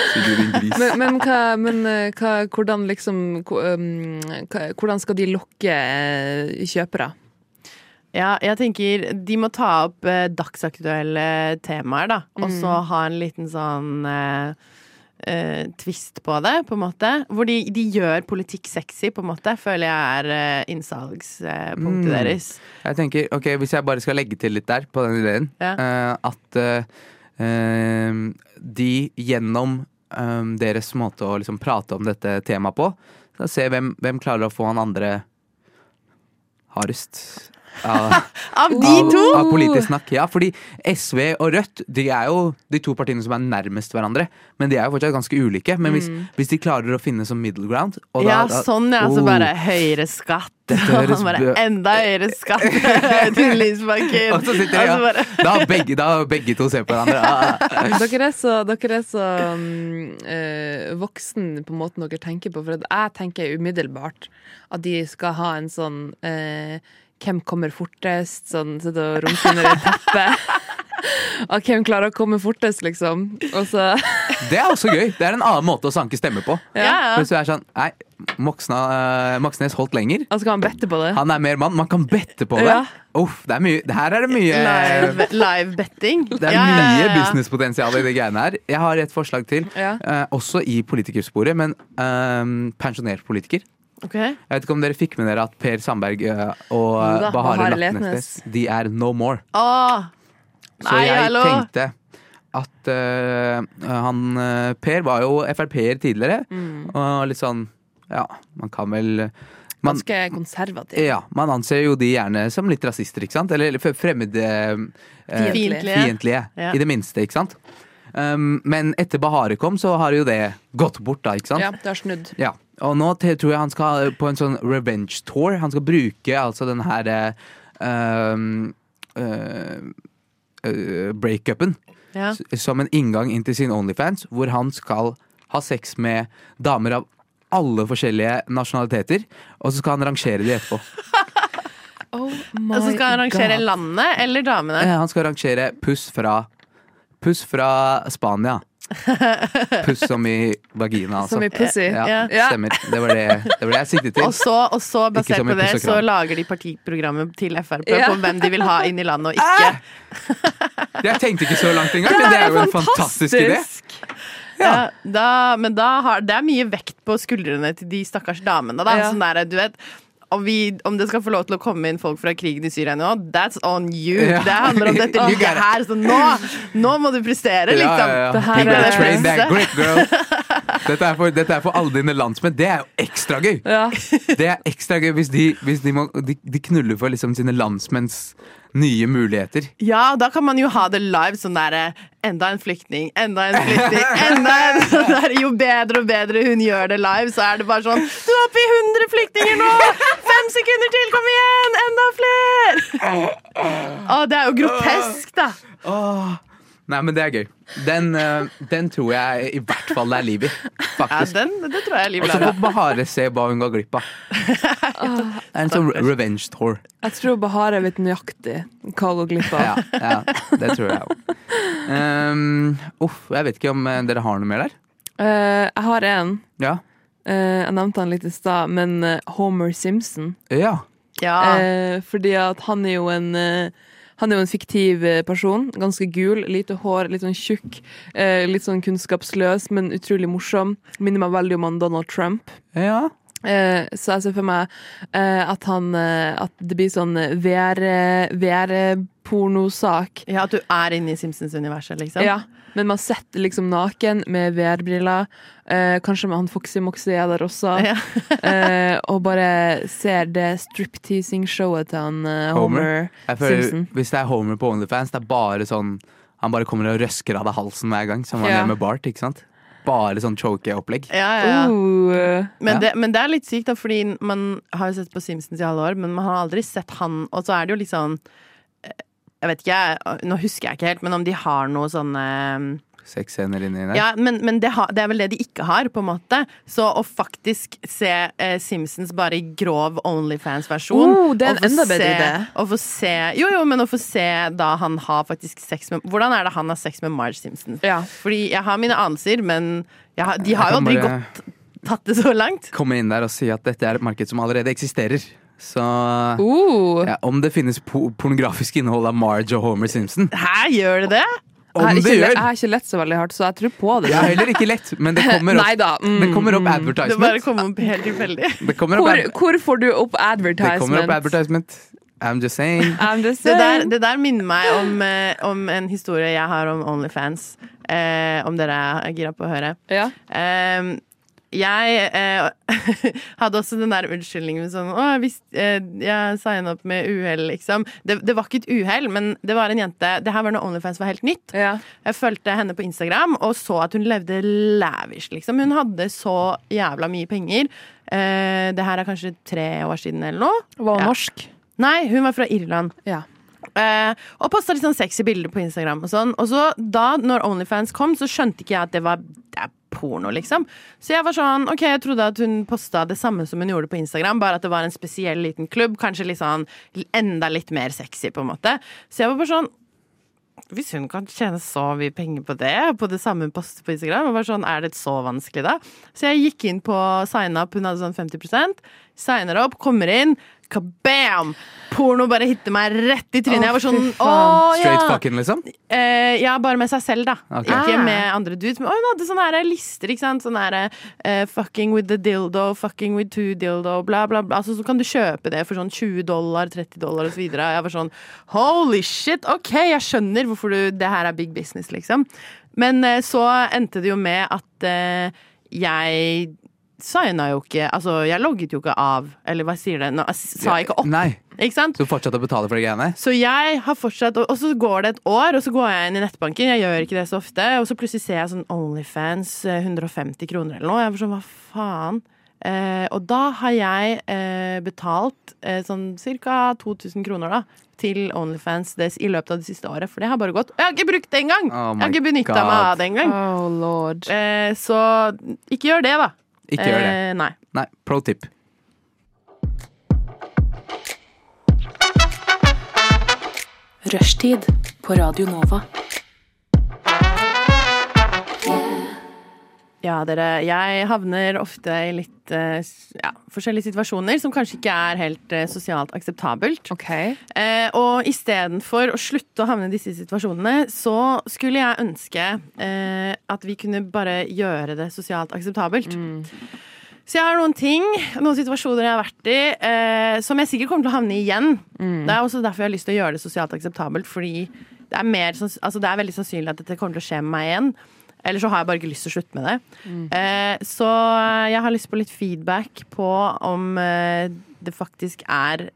S3: Men, men, hva, men eh, hva, hvordan liksom ko- um, hva, Hvordan skal de lokke eh, kjøpere?
S4: Ja, jeg tenker de må ta opp eh, dagsaktuelle temaer, da. Og så
S2: Mm.
S4: ha en liten sånn eh, eh, twist på det, på en måte. Hvor de, de gjør politikk sexy, på en måte, føler jeg er eh, innsalgspunktet
S2: Mm.
S4: deres.
S2: Jeg tenker, ok, Hvis jeg bare skal legge til litt der, på den ideen eh, At eh, eh, de gjennom eh, deres måte å liksom prate om dette temaet på skal Se hvem, hvem klarer å få han andre hardest. Av,
S4: Av de
S2: av,
S4: to!
S2: Av politisk snakk. Ja, fordi SV og Rødt de er jo de to partiene som er nærmest hverandre. Men de er jo fortsatt ganske ulike. Men hvis, hvis de klarer å finne som middle ground og da-
S4: Mm. ja,
S2: da-
S4: sånn, ja. Så
S2: Oh.
S4: bare høyere skatt. Og
S2: høres
S4: bare
S2: bø-
S4: enda høyere skatt til Lysbakken.
S2: Og så sitter de,
S4: Og så
S2: ja.
S4: bare-
S2: Da har begge, da har begge to ser på hverandre. Ah, ah.
S3: Dere er så, dere er så um, eh, voksen på måten dere tenker på. For at jeg tenker umiddelbart at de skal ha en sånn eh, Hvem kommer fortest? Sånn sitte og runke under et teppe. Og hvem klarer å komme fortest, liksom? Og så
S2: Det er også gøy. Det er en annen måte å sanke stemmer på.
S4: Ja, ja.
S2: Hvis du er sånn Nei, Moxna, eh, Moxnes holdt lenger.
S3: og så kan han bette på det.
S2: Han er mer mann. Man kan bette på det.
S3: Ja.
S2: Uff, det er mye, det her er det mye
S4: Live, eh, live betting.
S2: Eh, Det er
S4: Ja, ja, ja,
S2: mye
S4: ja.
S2: businesspotensial i de greiene her. Jeg har et forslag til.
S3: Ja.
S2: eh, også i politikersporet, men eh, pensjonert politiker.
S4: Ok.
S2: Jeg vet ikke om dere fikk med dere at Per Sandberg eh, og
S3: Jo da,
S2: Bahare
S3: Bahare
S2: Latnesnes De er no more.
S4: Åh.
S2: Så
S4: Nei,
S2: jeg
S4: hallo.
S2: tenkte at eh, han eh, Per var jo Frp-er tidligere,
S4: Mm.
S2: og litt sånn Ja, man kan vel man,
S3: Ganske konservativ.
S2: ja, man anser jo de gjerne som litt rasister, ikke sant? Eller f- fremmede eh,
S4: Fiendtlige.
S2: fiendtlige,
S4: Ja.
S2: i det minste, ikke sant? Um, men etter Bahare kom, så har jo det gått bort, da, ikke sant?
S3: Ja, det har snudd.
S2: Ja, og nå te- tror jeg han skal på en sånn revenge tour. Han skal bruke altså den her eh, um, eh, eh, breakupen
S4: Ja.
S2: s- som en inngang inn til sin Onlyfans, hvor han skal ha sex med damer av alle forskjellige nasjonaliteter, og så skal han rangere de etterpå.
S3: Oh
S4: Og så skal han rangere
S3: God.
S4: landet eller damene?
S2: Eh, Han skal rangere puss fra Puss fra Spania. Puss som i vagina, altså.
S3: Som i pussy.
S2: ja,
S3: Ja.
S2: stemmer. Det var det, det var det jeg siktet til.
S4: Og så, og så basert
S2: som i
S4: på det,
S2: puss og
S4: så
S2: kram.
S4: lager de partiprogrammet til Frp
S3: Ja. Ah,
S4: på hvem de vil ha inn i landet og ikke.
S2: Jeg tenkte ikke så langt engang, men det er jo en fantastisk idé.
S4: Ja. da, men da har, det er mye vekt på skuldrene til de stakkars damene. Da.
S3: Ja.
S4: Sånn der, du vet, om, vi, om det skal få lov til å komme inn folk fra krigen i Syria nå, that's on you.
S2: Ja.
S4: Det handler om dette
S2: You
S4: lille
S2: got it.
S4: her, så nå, nå må du prestere, liksom.
S3: Det her
S2: You gotta
S3: er-
S2: train that grip, girl. Dette er, for, dette er for alle dine landsmenn. Det er jo ekstra gøy!
S3: Ja.
S2: Det er ekstra gøy Hvis de, hvis de, må, de, de knuller for liksom sine landsmenns nye muligheter.
S4: Ja, da kan man jo ha det live sånn derre Enda en flyktning, enda en flyktning, enda en sånn der, Jo bedre og bedre hun gjør det live, så er det bare sånn Du er oppe i 100 flyktninger nå! Fem sekunder til, kom igjen! Enda flere! Å, det er jo grotesk, da.
S2: Nei, men det er gøy. Den, eh, den tror jeg i hvert fall det er liv i.
S4: Ja,
S2: Faktisk.
S4: den, det tror jeg
S2: Og
S4: livet
S2: så
S4: lærer.
S2: får Bahare se hva hun går glipp av. Det er en sånn revenge tour.
S3: Jeg tror Bahare vet nøyaktig hva hun går glipp av.
S2: Ja, ja, det tror jeg òg. Um, uff, jeg vet ikke om eh, dere har noe mer der?
S3: Eh, jeg har en.
S2: Ja.
S3: Eh, jeg nevnte han litt i stad, men eh, Homer Simpson.
S2: ja.
S4: Ja.
S3: Eh, fordi at han er jo en eh, han er jo en fiktiv eh, person. Ganske gul, lite hår, litt sånn tjukk. eh, litt sånn kunnskapsløs, men utrolig morsom. Minner meg veldig om han Donald Trump.
S2: ja.
S3: Eh, Så jeg ser for meg eh, at, han, eh, at det blir sånn eh, VR-pornosak.
S4: ja, at du er inne i Simpsons-universet, liksom.
S3: Ja, men man sitter liksom naken med VR-briller. Eh, kanskje med han Foxy Moxy er der også.
S4: Ja.
S3: eh, og bare ser det stripteasing-showet til han eh, Homer,
S2: Jeg føler,
S3: Simpson.
S2: hvis det er Homer på Onlyfans, det er bare sånn Han bare kommer og røsker av deg halsen hver gang, som han
S3: Ja.
S2: gjør med Bart. ikke sant? Bare sånn choke-opplegg.
S4: Ja, ja, ja.
S3: Uh,
S4: Men,
S2: Ja.
S4: det, men det er litt sykt, da, fordi man har jo sett på Simpsons i alle år, men man har aldri sett han Og så er det jo litt sånn eh, Jeg vet ikke, nå husker jeg ikke helt, men om de har noe sånne
S2: Sexscener inni der.
S4: Ja, men, men det, har, det er vel det de ikke har, på en måte. Så å faktisk se eh, Simpsons bare i grov Onlyfans-versjon
S3: Oh, det er en
S4: og få
S3: enda bedre
S4: se,
S3: idé.
S4: Å få se, jo, jo, men å få se da han har faktisk sex med Hvordan er det han har sex med Marge Simpson?
S3: Ja.
S4: Fordi jeg har mine anelser, men jeg har, de
S2: Jeg
S4: har jo
S2: kan
S4: aldri
S2: bare-
S4: gått, tatt det så langt.
S2: Komme inn der og si at dette er et marked som allerede eksisterer. Så eh,
S3: Uh,
S2: ja, om det finnes po pornografisk innhold av Marge og Homer Simpson
S4: Hæ, gjør det det?
S3: jeg, har
S2: Om
S3: ikke,
S2: det
S3: le-
S2: gjør!
S3: jeg har ikke lett så veldig hardt, så jeg tror på det.
S2: Jeg har heller ikke lett, men det kommer opp,
S3: Nei da. Mm.
S2: det kommer opp
S4: Det bare
S2: advertisement.
S4: kom opp helt tilfeldig.
S2: Det kommer opp,
S3: Hvor,
S2: ad
S3: hvor får du opp
S2: det kommer opp
S3: advertisement?
S2: advertisement. I'm just saying.
S3: I'm just
S4: Det der,
S3: saying.
S4: det der minner meg om, eh, om en historie jeg har om Onlyfans. Eh, om dere er gira på å høre.
S3: Ja.
S4: Ehm, jeg eh, hadde også den der unnskyldningen med sånn Å, hvis, eh, jeg signa opp med uhell, liksom. Det, det var ikke et uhell, men det var en jente Det her var når Onlyfans var helt nytt.
S3: Ja.
S4: Jeg fulgte henne på Instagram og så at hun levde lavish, liksom. Hun hadde så jævla mye penger. Eh, det her er kanskje tre år siden eller noe.
S3: Var
S4: Ja.
S3: norsk?
S4: Nei, hun var fra Irland.
S3: Ja.
S4: Eh, og posta litt sånn sexy bilder på Instagram. Og sånn Og så da når Onlyfans kom, så skjønte ikke jeg at det var det er porno, liksom. Så jeg var sånn, ok, jeg trodde at hun posta det samme som hun gjorde på Instagram, bare at det var en spesiell liten klubb. Kanskje litt sånn enda litt mer sexy, på en måte. Så jeg var bare sånn hvis hun kan tjene så mye penger på det, på det samme postet på Instagram, jeg var sånn, er det så vanskelig da? Så jeg gikk inn på sign up, hun hadde sånn 50 signer opp, kommer inn, kabam! Porno bare hitter meg rett i trynet. Jeg var sånn,
S3: fy
S4: å
S3: faen.
S4: ja!
S2: Straight fucking, liksom.
S4: Eh, ja, bare med seg selv, da.
S2: Ok.
S4: Ikke
S3: Ah.
S4: med andre dudes. Men å, hun hadde sånne her lister, ikke sant. Sånne her, eh, fucking with the dildo, fucking with two dildo, bla, bla, bla. Altså, så kan du kjøpe det for sånn 20 dollar, 30 dollar osv. Og jeg var sånn holy shit, OK, jeg skjønner hvorfor du Det her er big business, liksom. Men eh, så endte det jo med at eh, jeg signa jo ikke Altså, jeg logget jo ikke av, eller hva sier det? Nå, jeg sa ikke opp,
S2: Nei,
S4: ikke sant?
S2: så du fortsatte å betale for de greiene?
S4: Så jeg har fortsatt, og og så går det et år, og så går jeg inn i nettbanken. Jeg gjør ikke det så ofte. Og så plutselig ser jeg sånn Onlyfans, eh, 150 kroner eller noe. Jeg er sånn, hva faen? Eh, og da har jeg eh, betalt eh, sånn ca. 2000 kroner da, til Onlyfans det, i løpet av det siste året. For det har bare gått. Og jeg har ikke brukt det engang!
S2: Oh
S4: jeg
S2: my
S4: har ikke benytta
S2: God.
S4: meg av det engang.
S3: Oh lord.
S4: Eh, så ikke gjør det, da.
S2: Ikke gjør det.
S4: Eh, nei.
S2: Nei, pro tip.
S5: Rushtid på Radio Nova.
S4: Ja, dere, jeg havner ofte i litt eh, s- ja, forskjellige situasjoner som kanskje ikke er helt eh, sosialt akseptabelt.
S3: OK.
S4: Eh, og istedenfor å slutte å havne i disse situasjonene, så skulle jeg ønske eh, at vi kunne bare gjøre det sosialt akseptabelt. Så jeg har noen ting, noen situasjoner jeg har vært i, eh, som jeg sikkert kommer til å havne i igjen. Det er også derfor jeg har lyst til å gjøre det sosialt akseptabelt, fordi det er, mer, sanns- altså det er veldig sannsynlig at dette kommer til å skje med meg igjen. Eller så har jeg bare ikke lyst til å slutte med det. Eh, så jeg har lyst på litt feedback på om eh, det faktisk er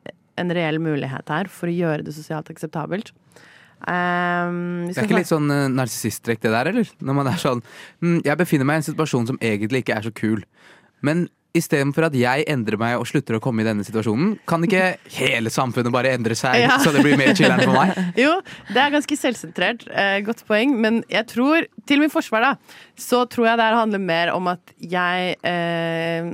S4: en reell mulighet her for å gjøre det sosialt akseptabelt. Um,
S2: Det
S4: vi
S2: er
S4: skal
S2: ikke
S4: snakke-
S2: litt sånn eh, narsissisttrekk det der, eller? Når man er sånn mm, Jeg befinner meg i en situasjon som egentlig ikke er så kul. Men istedenfor at jeg endrer meg og slutter å komme i denne situasjonen, kan ikke hele samfunnet bare endre seg,
S4: Ja.
S2: så det blir mer chiller'n for meg?
S4: Jo, det er ganske selvsentrert. Eh, godt poeng. Men jeg tror, til min forsvar, da, så tror jeg det her handler mer om at jeg eh,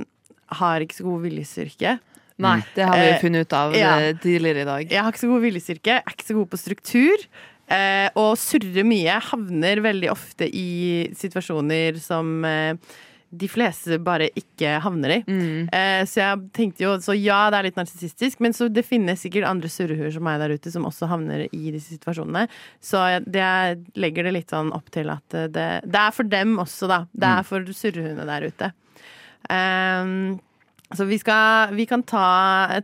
S4: har ikke så god viljestyrke.
S2: Mm.
S3: Nei, det har vi
S4: Eh,
S3: funnet ut av
S4: ja.
S3: eh, tidligere i dag.
S4: Jeg har ikke så god viljestyrke, er ikke så god på struktur. Eh, og surrer mye. Havner veldig ofte i situasjoner som eh, de fleste bare ikke havner i. Eh, så jeg tenkte jo Så ja, det er litt narsissistisk, men så det finnes sikkert andre surrehuer som meg der ute, som også havner i disse situasjonene. Så jeg, det, jeg legger det litt sånn opp til at eh, det, det er for dem også, da. Det er for surrehuene der ute. Ehm, så vi, skal, vi kan ta,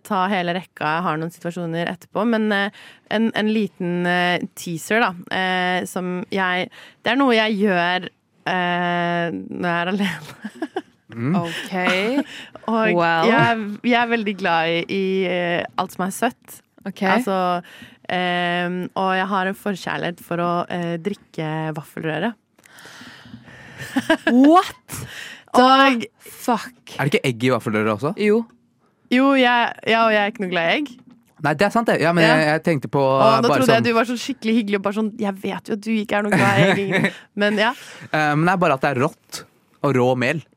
S4: ta hele rekka. Jeg har noen situasjoner etterpå. Men eh, en, en liten eh, teaser, da. eh, som jeg Det er noe jeg gjør eh, når jeg er alene.
S2: Mm.
S3: OK.
S4: Og
S3: Well.
S4: jeg, er- jeg er veldig glad i, i eh, alt som er søtt.
S3: ok
S4: Altså, ehm, og jeg har en forkjærlighet for å eh, drikke vaffelrøre.
S3: What?
S4: Og
S3: Fuck.
S2: Er det ikke egg i vaffelrøret også?
S3: Jo.
S4: jo, jeg, ja, og jeg er ikke noe glad i egg.
S2: Nei, det er sant, det. Ja, men
S4: Ja.
S2: jeg, jeg tenkte på
S4: Å,
S2: eh,
S4: nå
S2: bare
S4: trodde jeg
S2: sånn
S4: du var så skikkelig hyggelig og bare sånn Jeg vet jo at du ikke er noe glad i egg, Ingrid." men ja.
S2: eh, Men det er bare at det er rått. Og rå mel.
S4: ja.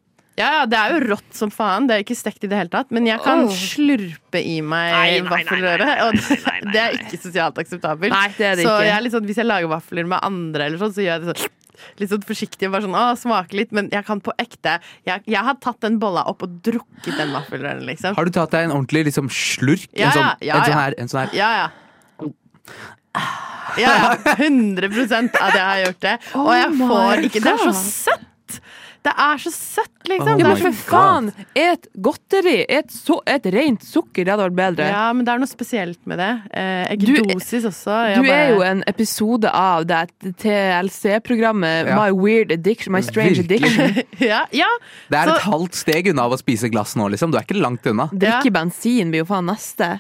S4: Ja, det er jo rått som faen. Det er ikke stekt i det hele tatt. Men jeg kan slurpe i meg vaffelrøre, og det- det er ikke sosialt akseptabelt.
S3: Nei, det er det
S4: så
S3: ikke.
S4: jeg er litt sånn, hvis jeg lager vafler med andre, eller sånn, så gjør jeg det sånn Litt sånn forsiktig og bare sånn, å, smake litt, men jeg kan på ekte Jeg, jeg har tatt den bolla opp og drukket den vaffelrøren, liksom.
S2: Har du tatt deg en ordentlig liksom, slurk?
S4: Ja,
S2: en, sånn,
S4: ja,
S2: en sånn
S4: ja.
S2: her. En sånn her.
S4: Ja, ja. Ja, ja. 100 at jeg har gjort det. Og jeg
S3: Oh my
S4: får ikke Det er så
S3: God.
S4: søtt! Det er så søtt, liksom.
S2: Oh
S4: det
S3: Ja, men
S4: er
S2: my
S4: så
S3: for faen! Et godteri! Et, so et rent sukker, det hadde vært bedre.
S4: Ja, men det er noe spesielt med det. Eh,
S3: Du-
S4: Eggedosis også. Jeg
S3: Du
S4: bare-
S3: er jo en episode av det TLC-programmet
S2: Ja.
S3: My Weird Addiction, My Strange
S2: Virkelig.
S3: Addiction.
S4: ja, ja,
S2: Det er
S4: Så-
S2: et halvt steg unna av å spise glass nå, liksom. Du er ikke langt unna.
S3: Drikke bensin blir jo faen neste.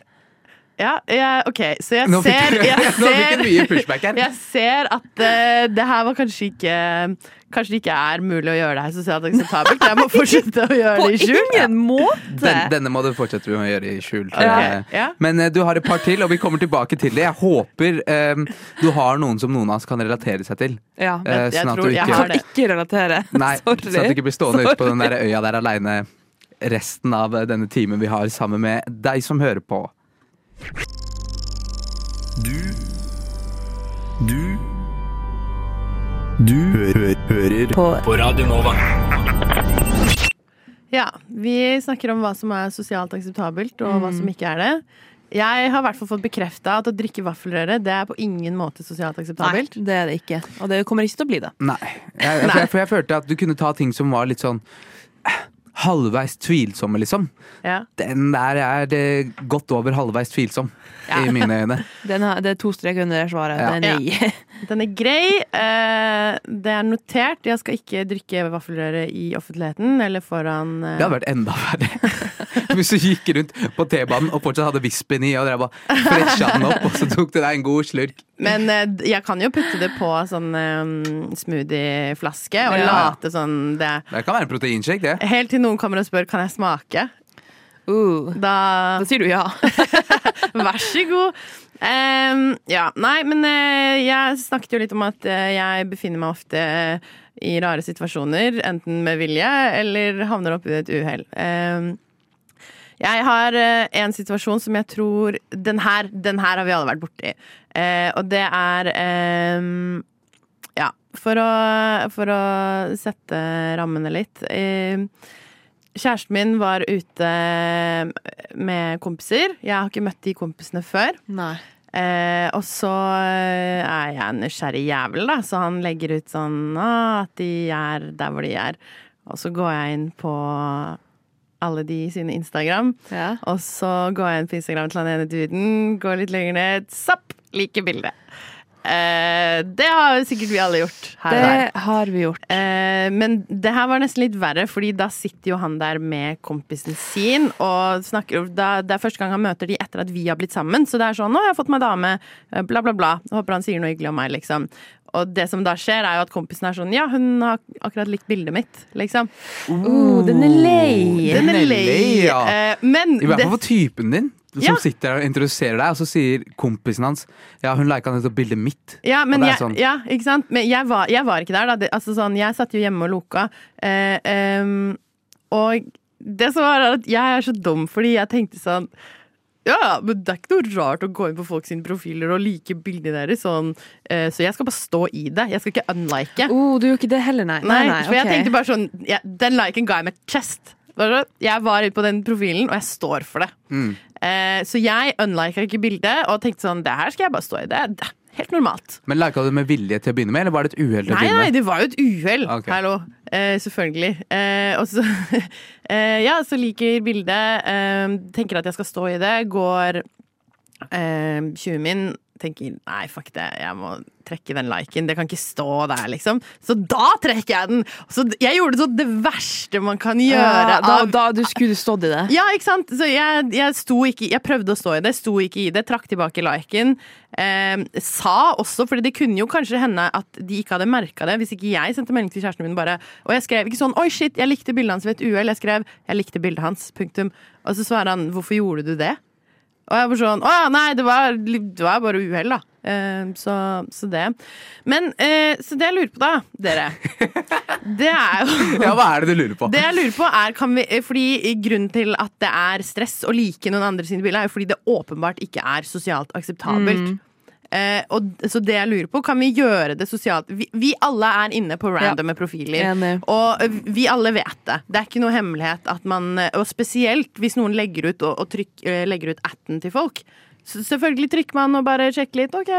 S4: ja, ja, OK. Så jeg
S2: Nå fikk
S4: ser,
S2: jeg,
S4: jeg
S2: nå fikk jeg
S4: ser
S2: mye pushback her.
S4: jeg ser at eh, det her var kanskje ikke Kanskje det ikke er mulig å gjøre det her sosialt akseptabelt. Jeg må fortsette å gjøre
S3: På
S4: det i skjul.
S3: ingen måte!
S2: Den, denne må du fortsette å gjøre i skjul.
S4: Ja, ja.
S2: Men eh, du har et par til, og vi kommer tilbake til det. Jeg håper eh, du har noen som noen av oss kan relatere seg til.
S3: Ja,
S2: eh,
S4: jeg
S2: sånn at
S4: tror
S2: du
S4: jeg
S2: ikke,
S4: har
S3: kan ikke relatere.
S2: Nei,
S3: Sorry.
S2: sånn at du ikke blir stående ute på den der øya der aleine resten av eh, denne timen vi har sammen med deg som hører på.
S8: Du Du Du hø hø hører på. Radio Nova.
S4: Ja, vi snakker om hva som er sosialt akseptabelt, og
S3: Mm.
S4: hva som ikke er det. Jeg har i hvert fall fått bekrefta at å drikke vaffelrøre det er på ingen måte sosialt
S3: Nei,
S4: akseptabelt.
S3: det er det ikke. Og det kommer ikke til å bli det.
S2: Nei. Jeg, for, jeg, for jeg følte at du kunne ta ting som var litt sånn eh, halvveis tvilsomme, liksom.
S4: Ja.
S2: Den der er eh, godt over halvveis tvilsom, i mine øyne.
S3: Den her, det er to streker under det svaret.
S2: Ja.
S3: Det er nei.
S4: Den er grei. eh, Det er notert. Jeg skal ikke drikke vaffelrøre i offentligheten eller foran eh,
S2: Det hadde vært enda verre. Hvis du gikk rundt på T-banen og fortsatt hadde vispen i, og dere bare fresha den opp, og så tok du deg en god slurk.
S4: Men eh, d- jeg kan jo putte det på sånn eh, smoothieflaske og
S2: Ja.
S4: late sånn det.
S2: Det kan være en proteinshake, det.
S4: Helt til noen kommer og spør kan jeg smake.
S3: Uh,
S4: Da
S3: da sier du ja.
S4: Vær så god. Ehm, ja, nei, men eh, jeg snakket jo litt om at eh, jeg befinner meg ofte eh, i rare situasjoner, enten med vilje eller havner oppi et uhell. Ehm, jeg har eh, en situasjon som jeg tror Den her, den her har vi alle vært borti. Eh, og det er ehm, Ja, for å, for å sette rammene litt. ehm, Kjæresten min var ute eh, med kompiser. Jeg har ikke møtt de kompisene før.
S3: Nei.
S4: Eh, og så eh, er jeg en nysgjerrig jævel, da, så han legger ut sånn ah, at de er der hvor de er. Og så går jeg inn på alle de sine Instagram,
S3: Ja.
S4: og så går jeg inn på Instagram til han ene duden, går litt lenger ned, zapp, liker bildet. Eh, det har sikkert vi alle gjort her og der.
S3: Det har vi gjort.
S4: Eh, men det her var nesten litt verre, Fordi da sitter jo han der med kompisen sin. Og snakker, da, Det er første gang han møter de etter at vi har blitt sammen. Så det er sånn 'Å, jeg har fått meg dame', eh, bla, bla, bla. Håper han sier noe hyggelig om meg, liksom. Og det som da skjer, er jo at kompisen er sånn 'Ja, hun har akkurat likt bildet mitt', liksom.
S3: Uh, den er lei.
S4: Den
S2: lei,
S4: er lei.
S2: ja.
S4: eh, Men
S2: I hvert fall
S4: det,
S2: for typen din, som
S4: Ja.
S2: sitter der og introduserer deg, og så sier kompisen hans Ja, hun lika nettopp bildet mitt.
S4: ja, men
S2: Og det er
S4: jeg,
S2: sånn.
S4: ja, ikke sant? Men jeg var, jeg var ikke der, da. Det, altså sånn, jeg satt jo hjemme og loka. Eh, ehm, og det som var, er at jeg er så dum, fordi jeg tenkte sånn Ja, ja, men det er ikke noe rart å gå inn på folk sine profiler og like bildene deres. Sånn, eh, så jeg skal bare stå i det. Jeg skal ikke unlike.
S3: Uh, du gjorde ikke det heller, nei.
S4: Oh, Nei, for jeg
S3: ok.
S4: tenkte bare sånn ja, Den liken ga jeg med chest. Bare sånn, Jeg var ute på den profilen, og jeg står for det.
S2: Mm.
S4: Eh, så jeg unlika ikke bildet, og tenkte sånn Det her skal jeg bare stå i. Det er helt normalt.
S2: Men lika du med vilje til å begynne med, eller var det et uhell til å
S4: Nei,
S2: begynne
S4: nei,
S2: med?
S4: det var jo et uhell.
S2: Ok.
S4: Hallo. Eh, selvfølgelig. Eh, og så eh, Ja, så liker bildet. Eh, tenker at jeg skal stå i det. Går eh, 20 min. Tenker nei, fuck det, jeg må trekke den liken. Det kan ikke stå der, liksom. Så da trekker jeg den! Så d- jeg gjorde så det verste man kan gjøre
S3: Ja, Ah, da,
S4: av
S3: da, du skulle stått i det.
S4: ja, ikke sant? Så jeg, jeg, sto ikke, jeg prøvde å stå i det, sto ikke i det, trakk tilbake liken. Eh, sa også, for det kunne jo kanskje hende at de ikke hadde merka det, hvis ikke jeg sendte melding til kjæresten min bare Og jeg skrev ikke sånn 'oi, shit, jeg likte bildet hans ved et uhell', jeg skrev 'jeg likte bildet hans', punktum. Og så svarer han 'hvorfor gjorde du det'? Og jeg var sånn Å ja, nei, det var, li- det var bare uhell, da. Eh, så, så det. Men eh, så det jeg lurer på, da, dere Det er jo
S2: Ja, hva er det du lurer på?
S4: Det jeg lurer på er, kan vi, eh, fordi Grunnen til at det er stress å like noen andre sine biler, er jo fordi det åpenbart ikke er sosialt akseptabelt. Eh, og, d- så det jeg lurer på, kan vi gjøre det sosialt Vi, vi alle er inne på randome profiler.
S3: Enig.
S4: Og eh, vi alle vet det. Det er ikke noe hemmelighet at man eh, Og spesielt hvis noen legger ut, og, og trykk, eh, legger ut atten til folk. Så selvfølgelig trykker man og bare sjekker litt. OK.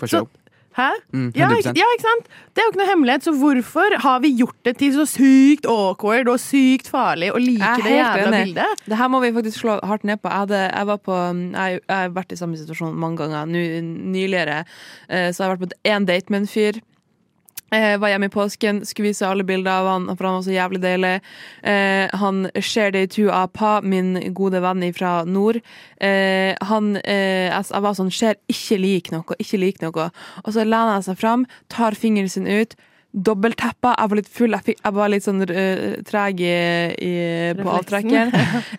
S2: For
S4: Så-
S2: show.
S4: Hæ?
S2: Mm,
S4: ja,
S2: 100%.
S4: ikke, ja, ikke sant? Det er jo ikke noe hemmelighet, så hvorfor har vi gjort det til så sykt awkward og sykt farlig å like
S3: Jeg er
S4: det
S3: helt
S4: jævla
S3: enig.
S4: bildet?
S3: Det her må vi faktisk slå hardt ned på. Jeg, hadde, jeg, var på, jeg, jeg har vært i samme situasjon mange ganger nu- nyligere. Eh, Så jeg har vært på én date med en fyr. Eh, var hjemme i påsken, skulle vise alle bilder av han, for han var så jævlig deilig. Eh, han Sherday Tu Apa, min gode venn fra nord, eh, han eh, jeg, jeg var sånn Ser ikke lik noe, ikke lik noe. Og så lener han seg fram, tar fingeren sin ut. Dobbeltteppa. Jeg var litt full, jeg, fikk, jeg var litt sånn eh, treg i, i, på
S4: Refleksen.
S3: avtrekkeren.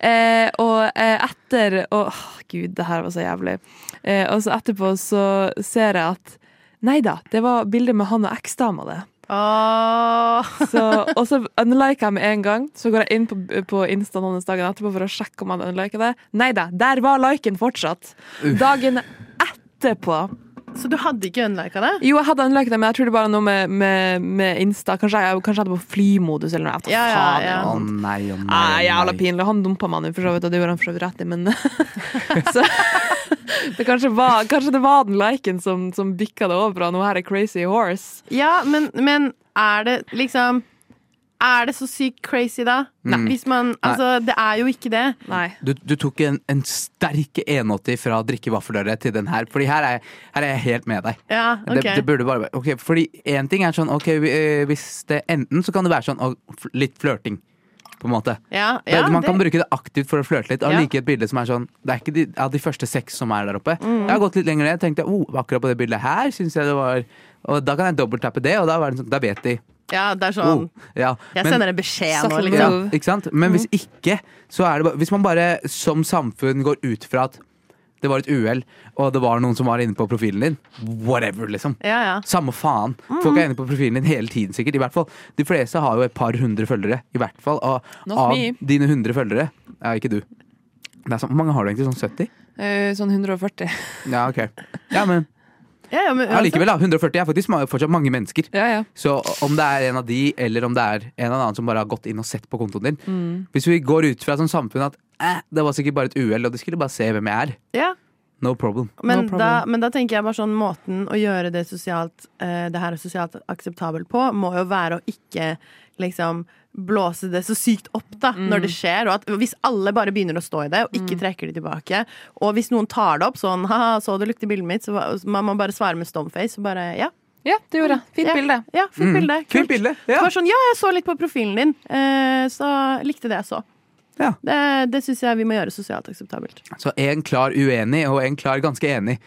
S3: Eh, og eh, etter Å, gud, det her var så jævlig. Eh, og så etterpå så ser jeg at Nei da, det var bildet med han og eksdama, det.
S4: Åh.
S3: Så, og så unliker jeg med en gang. Så går jeg inn på, på Instaen hans dagen etterpå for å sjekke om han unliker det. Nei da, der var liken fortsatt! Dagen etterpå.
S4: Så du hadde ikke unlika det?
S3: Jo, jeg hadde unliket det, men jeg tror det bare er noe med, med, med Insta. Kanskje jeg, kanskje jeg hadde på flymodus eller noe. Jeg vet da
S4: Ja, ja,
S3: faen,
S4: ja.
S3: eller noe
S2: Å
S3: sånt.
S2: nei, å nei. å
S3: Ah, jævla
S2: nei.
S3: pinlig. Han dumpa meg nå, for så vidt, og det gjorde han for så vidt rett i, men så, det kanskje, var, kanskje det var den liken som, som bikka det over, og nå her er Crazy Horse.
S4: Ja, men, men er det liksom Er det så sykt crazy, da?
S2: Mm. Nei.
S4: Hvis man Altså, det er jo ikke det.
S3: Nei.
S2: Du, du tok en, en sterk 180 fra drikkevaffeløret til den her, Fordi her er, jeg- her er jeg helt med deg.
S4: Ja, OK.
S2: Det, det burde bare være ok, Fordi én ting er sånn ok, vi- eh, hvis det Enten så kan det være sånn å, f- litt flørting, på en måte.
S4: ja,
S2: Det-
S4: ja,
S2: Man
S4: det-
S2: kan bruke det aktivt for å flørte litt. Og
S4: Ja.
S2: like et bilde som er sånn Det er ikke de, av de første seks som er der oppe.
S4: Mm.
S2: Jeg har gått litt lenger ned. Tenkte oh, akkurat på det bildet her synes jeg det var Og da kan jeg dobbelttappe det, og da, var det sånn, da vet de.
S4: ja, det er sånn.
S2: Oh, ja.
S4: Jeg
S2: Men-
S4: sender en beskjed nå,
S3: Subtle
S2: ja,
S4: liksom.
S3: move.
S2: ikke sant? Men hvis ikke, så er det bare Hvis man bare som samfunn går ut fra at det var et uhell, og det var noen som var inne på profilen din, whatever, liksom.
S4: Ja, ja.
S2: Samme faen. Folk er inne på profilen din hele tiden, sikkert. I hvert fall. De fleste har jo et par hundre følgere, i hvert fall. Og
S3: Not
S2: av
S3: me.
S2: dine hundre følgere Ja, ikke du. Det er sånn, hvor mange har du egentlig? Sånn 70?
S3: Eh, Sånn 140.
S2: Ja, ok. Ja, men
S4: Ja, ja, men
S2: allikevel, da. 140 er faktisk ma- fortsatt mange mennesker.
S3: Ja, ja.
S2: Så om det er en av de, eller om det er en eller annen som bare har gått inn og sett på kontoen din Hvis vi går ut fra som samfunn at eh, det var sikkert bare et uhell, og de skulle bare se hvem jeg er.
S4: ja.
S2: No problem.
S4: Men,
S3: No problem.
S4: da, men da tenker jeg bare sånn måten å gjøre det sosialt eh, Det her er sosialt akseptabelt på, må jo være å ikke liksom blåse det så sykt opp da når det skjer. Og at hvis alle bare begynner å stå i det, og ikke trekker det tilbake, og hvis noen tar det opp sånn Haha, så du lukter bildet mitt, så var- så man må bare svare med stomface og bare Ja.
S3: Ja, det gjorde jeg. Fint
S4: ja,
S3: bilde.
S4: Ja, fint bilde.
S2: Kult Mm.
S4: Kult.
S2: bilde!
S4: Det
S2: Ja.
S4: var sånn Ja, jeg så litt på profilen din, eh, så likte det jeg så.
S2: Ja. Mm.
S4: Det, det syns jeg vi må gjøre sosialt akseptabelt.
S2: Så en klar uenig, og en klar ganske enig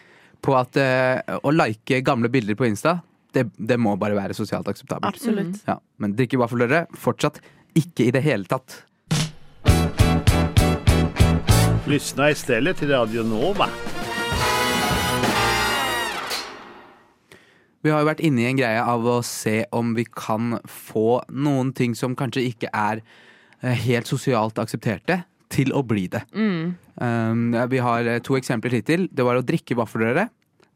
S2: på at eh, å like gamle bilder på Insta, det, det må bare være sosialt akseptabelt.
S4: Absolutt.
S2: Ja, men drikke vaffeløre fortsatt ikke i det hele tatt.
S9: Lyssna istället till Radio Nova.
S2: Vi har jo vært inne i en greie av å se om vi kan få noen ting som kanskje ikke er eh, helt sosialt aksepterte, til å bli det. Um, ja, vi har eh, to eksempler hittil. Det var å drikke vaffeløre.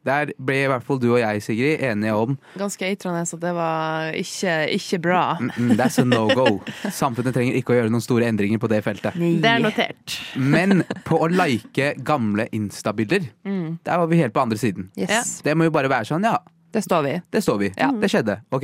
S2: Der ble i hvert fall du og jeg, Sigrid, enige om
S3: Ganske eitrende, så det var ikke, ikke bra.
S2: mm, that's a no go. Samfunnet trenger ikke å gjøre noen store endringer på det feltet.
S4: Det
S3: Mm.
S4: er notert.
S2: Men på å like gamle Insta-bilder, der var vi helt på andre siden.
S3: Yes.
S2: Det må jo bare være sånn, ja.
S3: Det står vi i.
S2: Det står vi.
S3: Ja.
S2: Det skjedde. OK?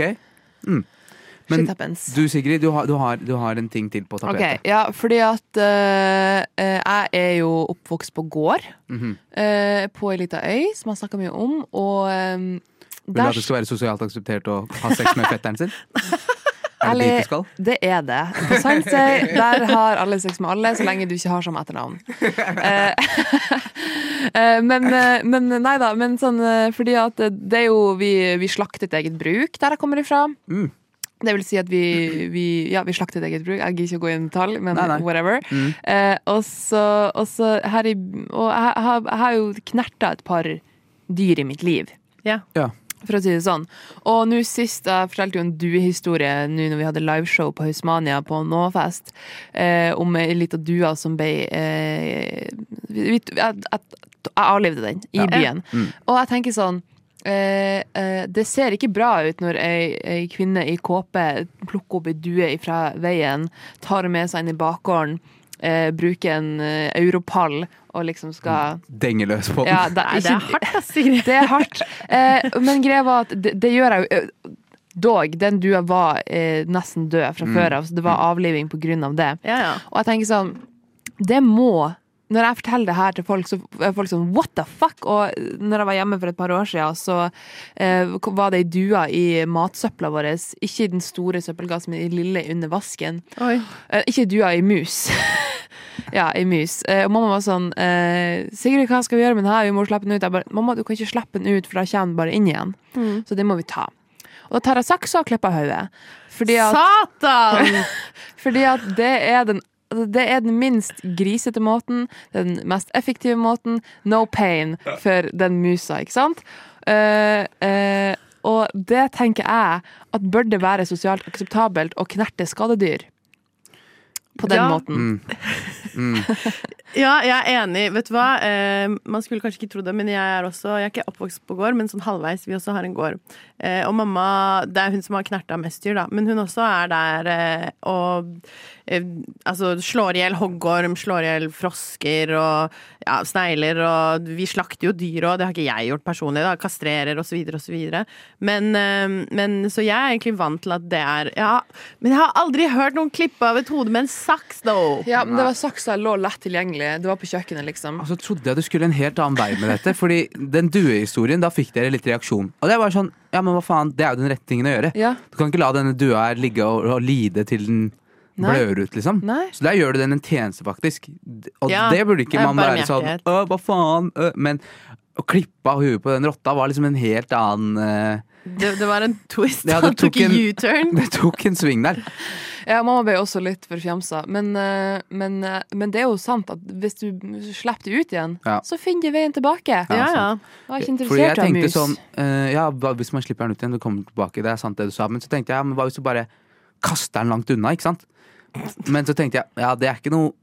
S2: Mm.
S3: Shit
S2: Men
S3: happens.
S2: du Sigrid, du har, du, har, du har en ting til på tapetet.
S3: Ok, ja, fordi at eh, eh, jeg er jo oppvokst på gård,
S2: Mhm.
S3: eh, på ei lita øy, som jeg snakka mye om, og eh,
S2: Vil du
S3: der
S2: at det skal være sosialt akseptert å ha sex med fetteren sin? Er det
S3: Ærlig,
S2: dit du skal?
S3: Det er det. På Sanktei, der har alle sex med alle, så lenge du ikke har samme etternavn. Eh, eh, men, eh, men nei da, men sånn eh, fordi at det er jo Vi, vi slaktet eget bruk der jeg kommer ifra.
S2: Mm.
S3: Det vil si at vi, vi, ja, vi slaktet eget bruk. Jeg gidder ikke å gå i detalj, men
S2: Nei, nei.
S3: whatever.
S2: Mm.
S3: Eh, og så, og så her i, og jeg, har- jeg har jo knerta et par dyr i mitt liv,
S4: Ja.
S2: Ja.
S3: for å si det sånn. Og nå sist, jeg fortalte jo en duehistorie nå når vi hadde liveshow på Hausmania på Nåfest, eh, om ei lita due som ble eh, vi, vi, jeg, jeg, jeg avlivde den i
S2: Ja.
S3: byen.
S2: Mm.
S3: Og jeg tenker sånn eh, eh, det ser ikke bra ut når ei, ei kvinne i kåpe plukker opp ei due fra veien, tar den med seg inn i bakgården, eh, bruker en eh, europall og liksom skal
S2: Denger løs på den.
S3: ja, det,
S4: Nei,
S3: er
S4: det er
S3: ikke,
S4: hardt, ass, Sigrid.
S3: det er hardt. Eh, men greia var at det, det gjør jeg jo eh, Dog, den dua var eh, nesten død fra før av, så det var avliving på grunn av det.
S4: Ja, ja.
S3: Og jeg tenker sånn Det må Når jeg forteller det her til folk, så er folk sånn What the fuck? Og eh, når jeg var hjemme for et par år siden, så eh, var det ei due i matsøpla vår. Ikke i den store søppelkassen, men i den lille under vasken.
S4: Oi.
S3: Eh, ikke dua, i mus. ja, i mus. Eh, og mamma var sånn eh, 'Sigrid, hva skal vi gjøre med den her? Vi må slippe den ut.' Jeg bare 'Mamma, du kan ikke slippe den ut, for da kommer den bare inn igjen.' Så det må vi ta. Og da tar jeg saksa og klipper hodet. Fordi at
S4: Satan!
S3: fordi at det er den altså, det er den minst grisete måten, den mest effektive måten. No pain for den musa, ikke sant? Eh, eh, og det tenker jeg at bør det være sosialt akseptabelt å knerte skadedyr. På den
S4: Ja.
S3: måten.
S4: Ja, jeg er enig. Vet du hva? Eh, man skulle kanskje ikke tro det, men jeg er også Jeg er ikke oppvokst på gård, men sånn halvveis. Vi også har en gård. Eh, og mamma Det er hun som har knerta mest dyr, da. Men hun også er der eh, og eh, Altså slår i hjel hoggorm, slår i hjel frosker og ja, snegler og Vi slakter jo dyr òg, det har ikke jeg gjort personlig, da. Kastrerer og så videre og så videre. Men, eh, men Så jeg er egentlig vant til at det er Ja, men jeg har aldri hørt noen klippe av et hode med en saks, though.
S3: Ja, men det var saksa lå lett tilgjengelig. Det var på kjøkkenet, liksom.
S2: Og så trodde jeg du skulle en helt annen vei med dette. Fordi den duehistorien, da fikk dere litt reaksjon. Og det var sånn, ja men hva faen, det er jo den rette tingen å gjøre.
S3: Ja.
S2: Du kan ikke la denne dua her ligge og, og lide til den
S3: Nei.
S2: blør ut, liksom.
S3: Nei.
S2: Så der gjør du den en tjeneste, faktisk. D- Og
S4: Ja,
S2: det burde ikke
S4: det er
S2: man være sånn
S4: barmhjertighet.
S2: Å, hva faen? øh, Men å klippe av huet på den rotta var liksom en helt annen eh,
S4: Det, det var en twist.
S2: Ja, det
S4: Han tok
S2: tok
S4: en
S2: en-
S4: U-turn.
S2: Det tok en sving der.
S3: Ja, mamma ble også litt forfjamsa. Men, eh, men, eh, men det er jo sant at hvis du slipper det ut igjen,
S2: Ja.
S3: så finner de veien tilbake.
S4: Ja, ja.
S3: Jeg var ikke
S2: Fordi jeg
S3: interessert i
S2: tenkte
S3: mus.
S2: sånn eh, Ja, hva hvis man slipper den ut igjen, du kommer den tilbake. Det er sant det du sa. Men så tenkte jeg, ja, men hva hvis du bare kaster den langt unna, ikke sant? Men så tenkte jeg, ja, det er ikke noe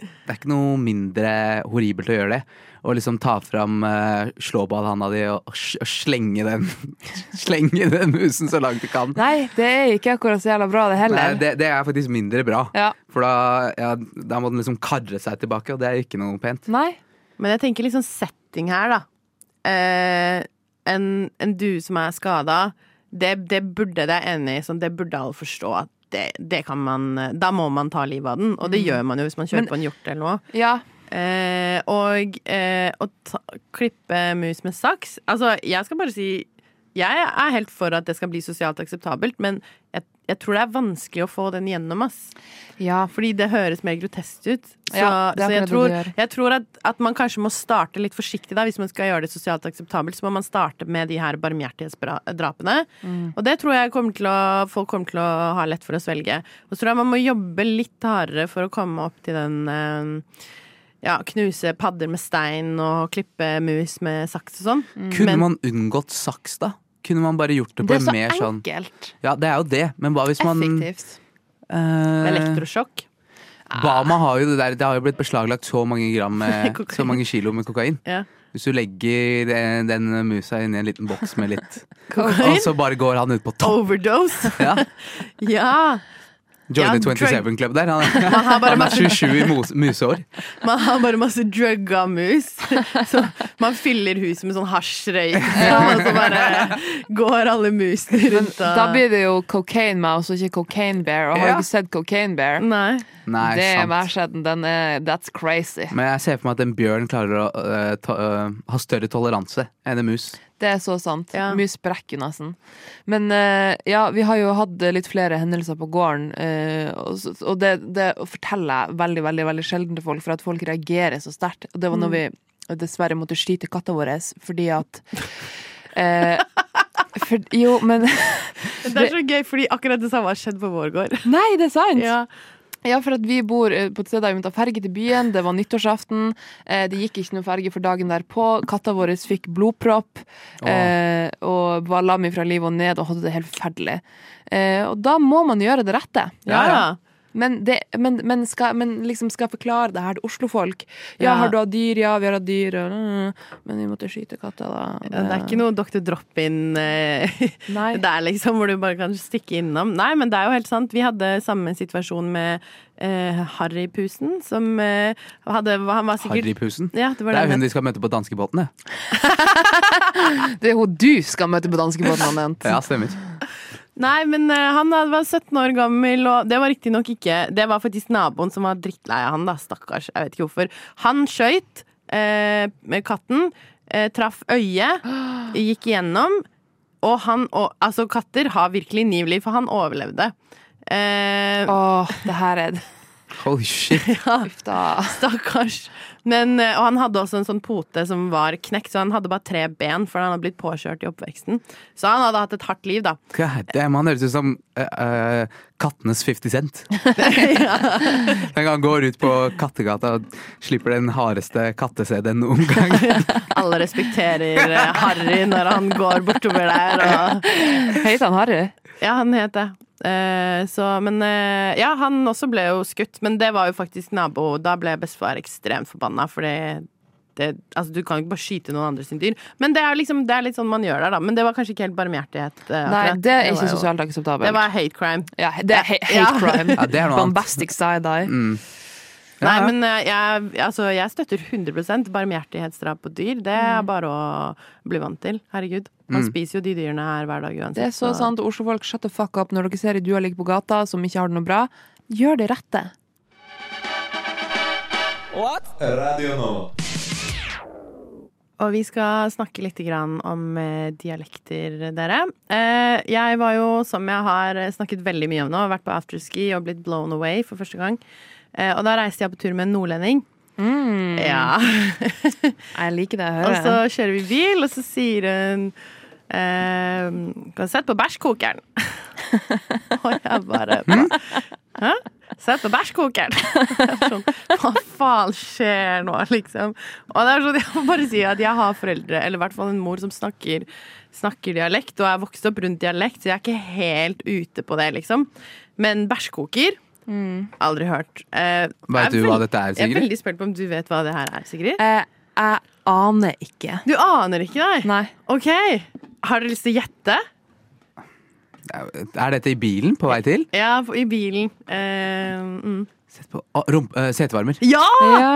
S2: det er ikke noe mindre horribelt å gjøre det. Å liksom ta fram uh, slåballhanda di og, og, s- og slenge den Slenge den musen så langt du kan.
S3: Nei, det er ikke akkurat så jævla bra, det heller.
S2: Nei, det, det er faktisk mindre bra.
S3: Ja.
S2: For da, ja, da må den liksom karre seg tilbake, og det er ikke noe pent.
S3: Nei.
S4: Men jeg tenker liksom setting her, da. Eh, en, en due som er skada, det, det burde det er enig i. Sånn, det burde alle forstå. at det, det kan man, da må man ta livet av den, og det gjør man jo hvis man kjører
S3: Men-
S4: på en hjort eller noe.
S3: Ja.
S4: Eh, og eh, å ta, klippe mus med saks Altså, jeg skal bare si Jeg er helt for at det skal bli sosialt akseptabelt, men jeg, jeg tror det er vanskelig å få den gjennom, ass.
S3: ja.
S4: Fordi det høres mer grotesk ut. Så,
S3: Ja, det er
S4: så jeg
S3: akkurat det
S4: tror,
S3: det gjør.
S4: jeg tror at, at man kanskje må starte litt forsiktig da, hvis man skal gjøre det sosialt akseptabelt. Så må man starte med de her barmhjertighetsdrapene.
S3: Mm.
S4: Og det tror jeg kommer til å, folk kommer til å ha lett for å svelge. Og så tror jeg man må jobbe litt hardere for å komme opp til den eh, ja, knuse padder med stein og klippe mus med saks og sånn.
S3: Mm.
S2: Kunne
S4: Men-
S2: man unngått saks, da? Kunne man bare gjort det på
S3: Det er
S2: en
S3: så
S2: mer sånn
S3: enkelt.
S2: Ja, det er jo det, men hva hvis man
S3: Effektivt.
S2: eh,
S4: Elektrosjokk.
S2: Bama har jo det der Det har jo blitt beslaglagt så mange gram med,
S4: Kokain.
S2: Så mange kilo med kokain.
S4: Ja.
S2: Hvis du legger den, den musa inn i en liten boks med litt Og så bare går han ut på topp!
S4: Overdose!
S2: Ja.
S4: ja! Ja,
S2: Joiner
S4: drug-
S2: 27 Club der. Han,
S4: Man har bare
S2: han er 27 i mos, museår.
S4: Man har bare masse drugga mus. Så man fyller huset med sånn hasjrøyk, og så bare går alle musene
S3: Men
S4: rundt og
S3: da blir det jo Cocaine Mouse og ikke Cocaine Bear. Og har
S2: Ja.
S3: du ikke sett Cocaine Bear?
S4: Nei.
S2: Nei,
S3: det er
S2: sant.
S3: værskjeden. Den er That's crazy.
S2: Men jeg ser for meg at en bjørn klarer å eh, ta, eh, ha større toleranse enn en mus.
S3: Det er så sant.
S4: Ja.
S3: Mye sprekk jo nesten. Men eh, ja, vi har jo hatt eh, litt flere hendelser på gården, eh, og, så- og det, det forteller jeg veldig, veldig, veldig sjelden til folk, for at folk reagerer så sterkt. Og det var når vi dessverre måtte skyte katta vår fordi at eh, for, Jo, men
S4: Det er så gøy, fordi akkurat det samme har skjedd på vår gård.
S3: Nei, det er sant!
S4: Ja.
S3: Ja, for at vi bor eh, på et sted der vi må ta ferge til byen. Det var nyttårsaften. Eh, det gikk ikke noe ferge for dagen derpå. Katta vår fikk blodpropp. Eh, og var lam fra livet og ned og hadde det helt forferdelig. Eh, og da må man gjøre det rette.
S4: Ja, ja.
S3: Men, det, men, men, skal, men liksom skal jeg forklare det her til oslofolk. Ja,
S4: Ja.
S3: har du hatt dyr? Ja, vi har hatt dyr. Og, mm, men vi måtte skyte katta, da.
S4: Ja, det er ikke noe Dr. Drop-in eh,
S3: Nei.
S4: der, liksom, hvor du bare kan stikke innom. Nei, men det er jo helt sant. Vi hadde samme situasjon med eh, Harry Pusen, som eh, hadde Han var sikkert
S2: Harrypusen.
S4: Ja, det var
S2: Det er jo
S4: den.
S2: hun vi skal møte på danskebåten, det.
S3: Det er hun du skal møte på danskebåten, Anette.
S2: Ja, stemmer.
S4: Nei, men eh, han hadde- var 17 år gammel, og det var riktignok ikke Det var faktisk naboen som var drittlei av han, da. Stakkars. Jeg vet ikke hvorfor. Han skøyt eh, med katten, eh, traff øyet, gikk igjennom, og han og, Altså, katter har virkelig nivliv, for han overlevde. Eh,
S3: Åh, det her er
S2: Holy shit.
S3: Uff da.
S4: Stakkars. Men, eh, og han hadde også en sånn pote som var knekt, så han hadde bare tre ben, for han hadde blitt påkjørt i oppveksten. Så han hadde hatt et hardt liv, da.
S2: God damn, han høres ut som eh, eh, kattenes 50 Cent. Den gang han går ut på Kattegata og slipper den hardeste katte-CD-en noen gang.
S4: Alle respekterer eh, Harry når han går bortover der. Og
S3: Heter han Harry?
S4: Ja, han het det. Eh, så, men eh, Ja, han også ble jo skutt, men det var jo faktisk nabo. Da ble bestefar ekstremt forbanna, fordi det, altså, du kan jo ikke bare skyte noen andre sin dyr. Men det er, jo liksom, det er litt sånn man gjør der, da. Men det var kanskje ikke helt barmhjertighet. eh,
S3: Nei,
S4: akkurat.
S3: det er
S4: var
S3: ikke
S4: jo-
S3: sosialt akseptabelt.
S4: Det var hate crime.
S3: Eh, ja, det er hate, hate
S4: Ja.
S3: crime.
S2: Ja, det er noe annet.
S3: Bombastic side-eye.
S2: Mm. Ja,
S4: Nei,
S2: ja.
S4: men eh, jeg, altså, jeg støtter 100 barmhjertighetsdrap på dyr. Det
S3: Mm.
S4: er bare å bli vant til. Herregud. Man
S2: Mm.
S4: spiser jo de dyrene her hver dag uansett.
S3: Det er så sant. Oslofolk, shut the fuck up når dere ser ei dua ligge på gata som ikke har det noe bra. Gjør det rette.
S1: Radio nå.
S4: Og vi skal snakke litt grann om eh, dialekter, dere. Eh, Jeg var jo, som jeg har snakket veldig mye om nå, vært på afterski og blitt blown away for første gang. Eh, Og da reiste jeg på tur med en nordlending. Ja.
S3: Jeg liker det jeg
S4: Og så kjører vi bil, og så sier hun eh, Kan du sette på bæsjkokeren? og jeg bare «Hm? Hæ? Sett på bæsjkokeren! Jeg er sånn, Hva faen skjer nå, liksom? Og det er sånn, Jeg må bare si at jeg har foreldre, eller i hvert fall en mor, som snakker, snakker dialekt. Og jeg er vokst opp rundt dialekt, så jeg er ikke helt ute på det, liksom. Men bæsjkoker Aldri hørt. Eh,
S2: Vet
S4: jeg
S2: du
S4: er
S2: hva
S4: veld-
S2: dette er,
S4: Jeg er
S2: Sigrid?
S4: veldig spurt på om du vet hva det her er, Sigrid.
S3: Eh, jeg aner ikke.
S4: Du aner ikke, nei?
S3: Nei.
S4: Ok, har dere lyst til å gjette?
S2: Er dette i bilen på vei til?
S4: Ja, på- i bilen. Eh, mm.
S2: Sett på Å, rump, eh, setevarmer.
S4: Ja!
S3: Ja.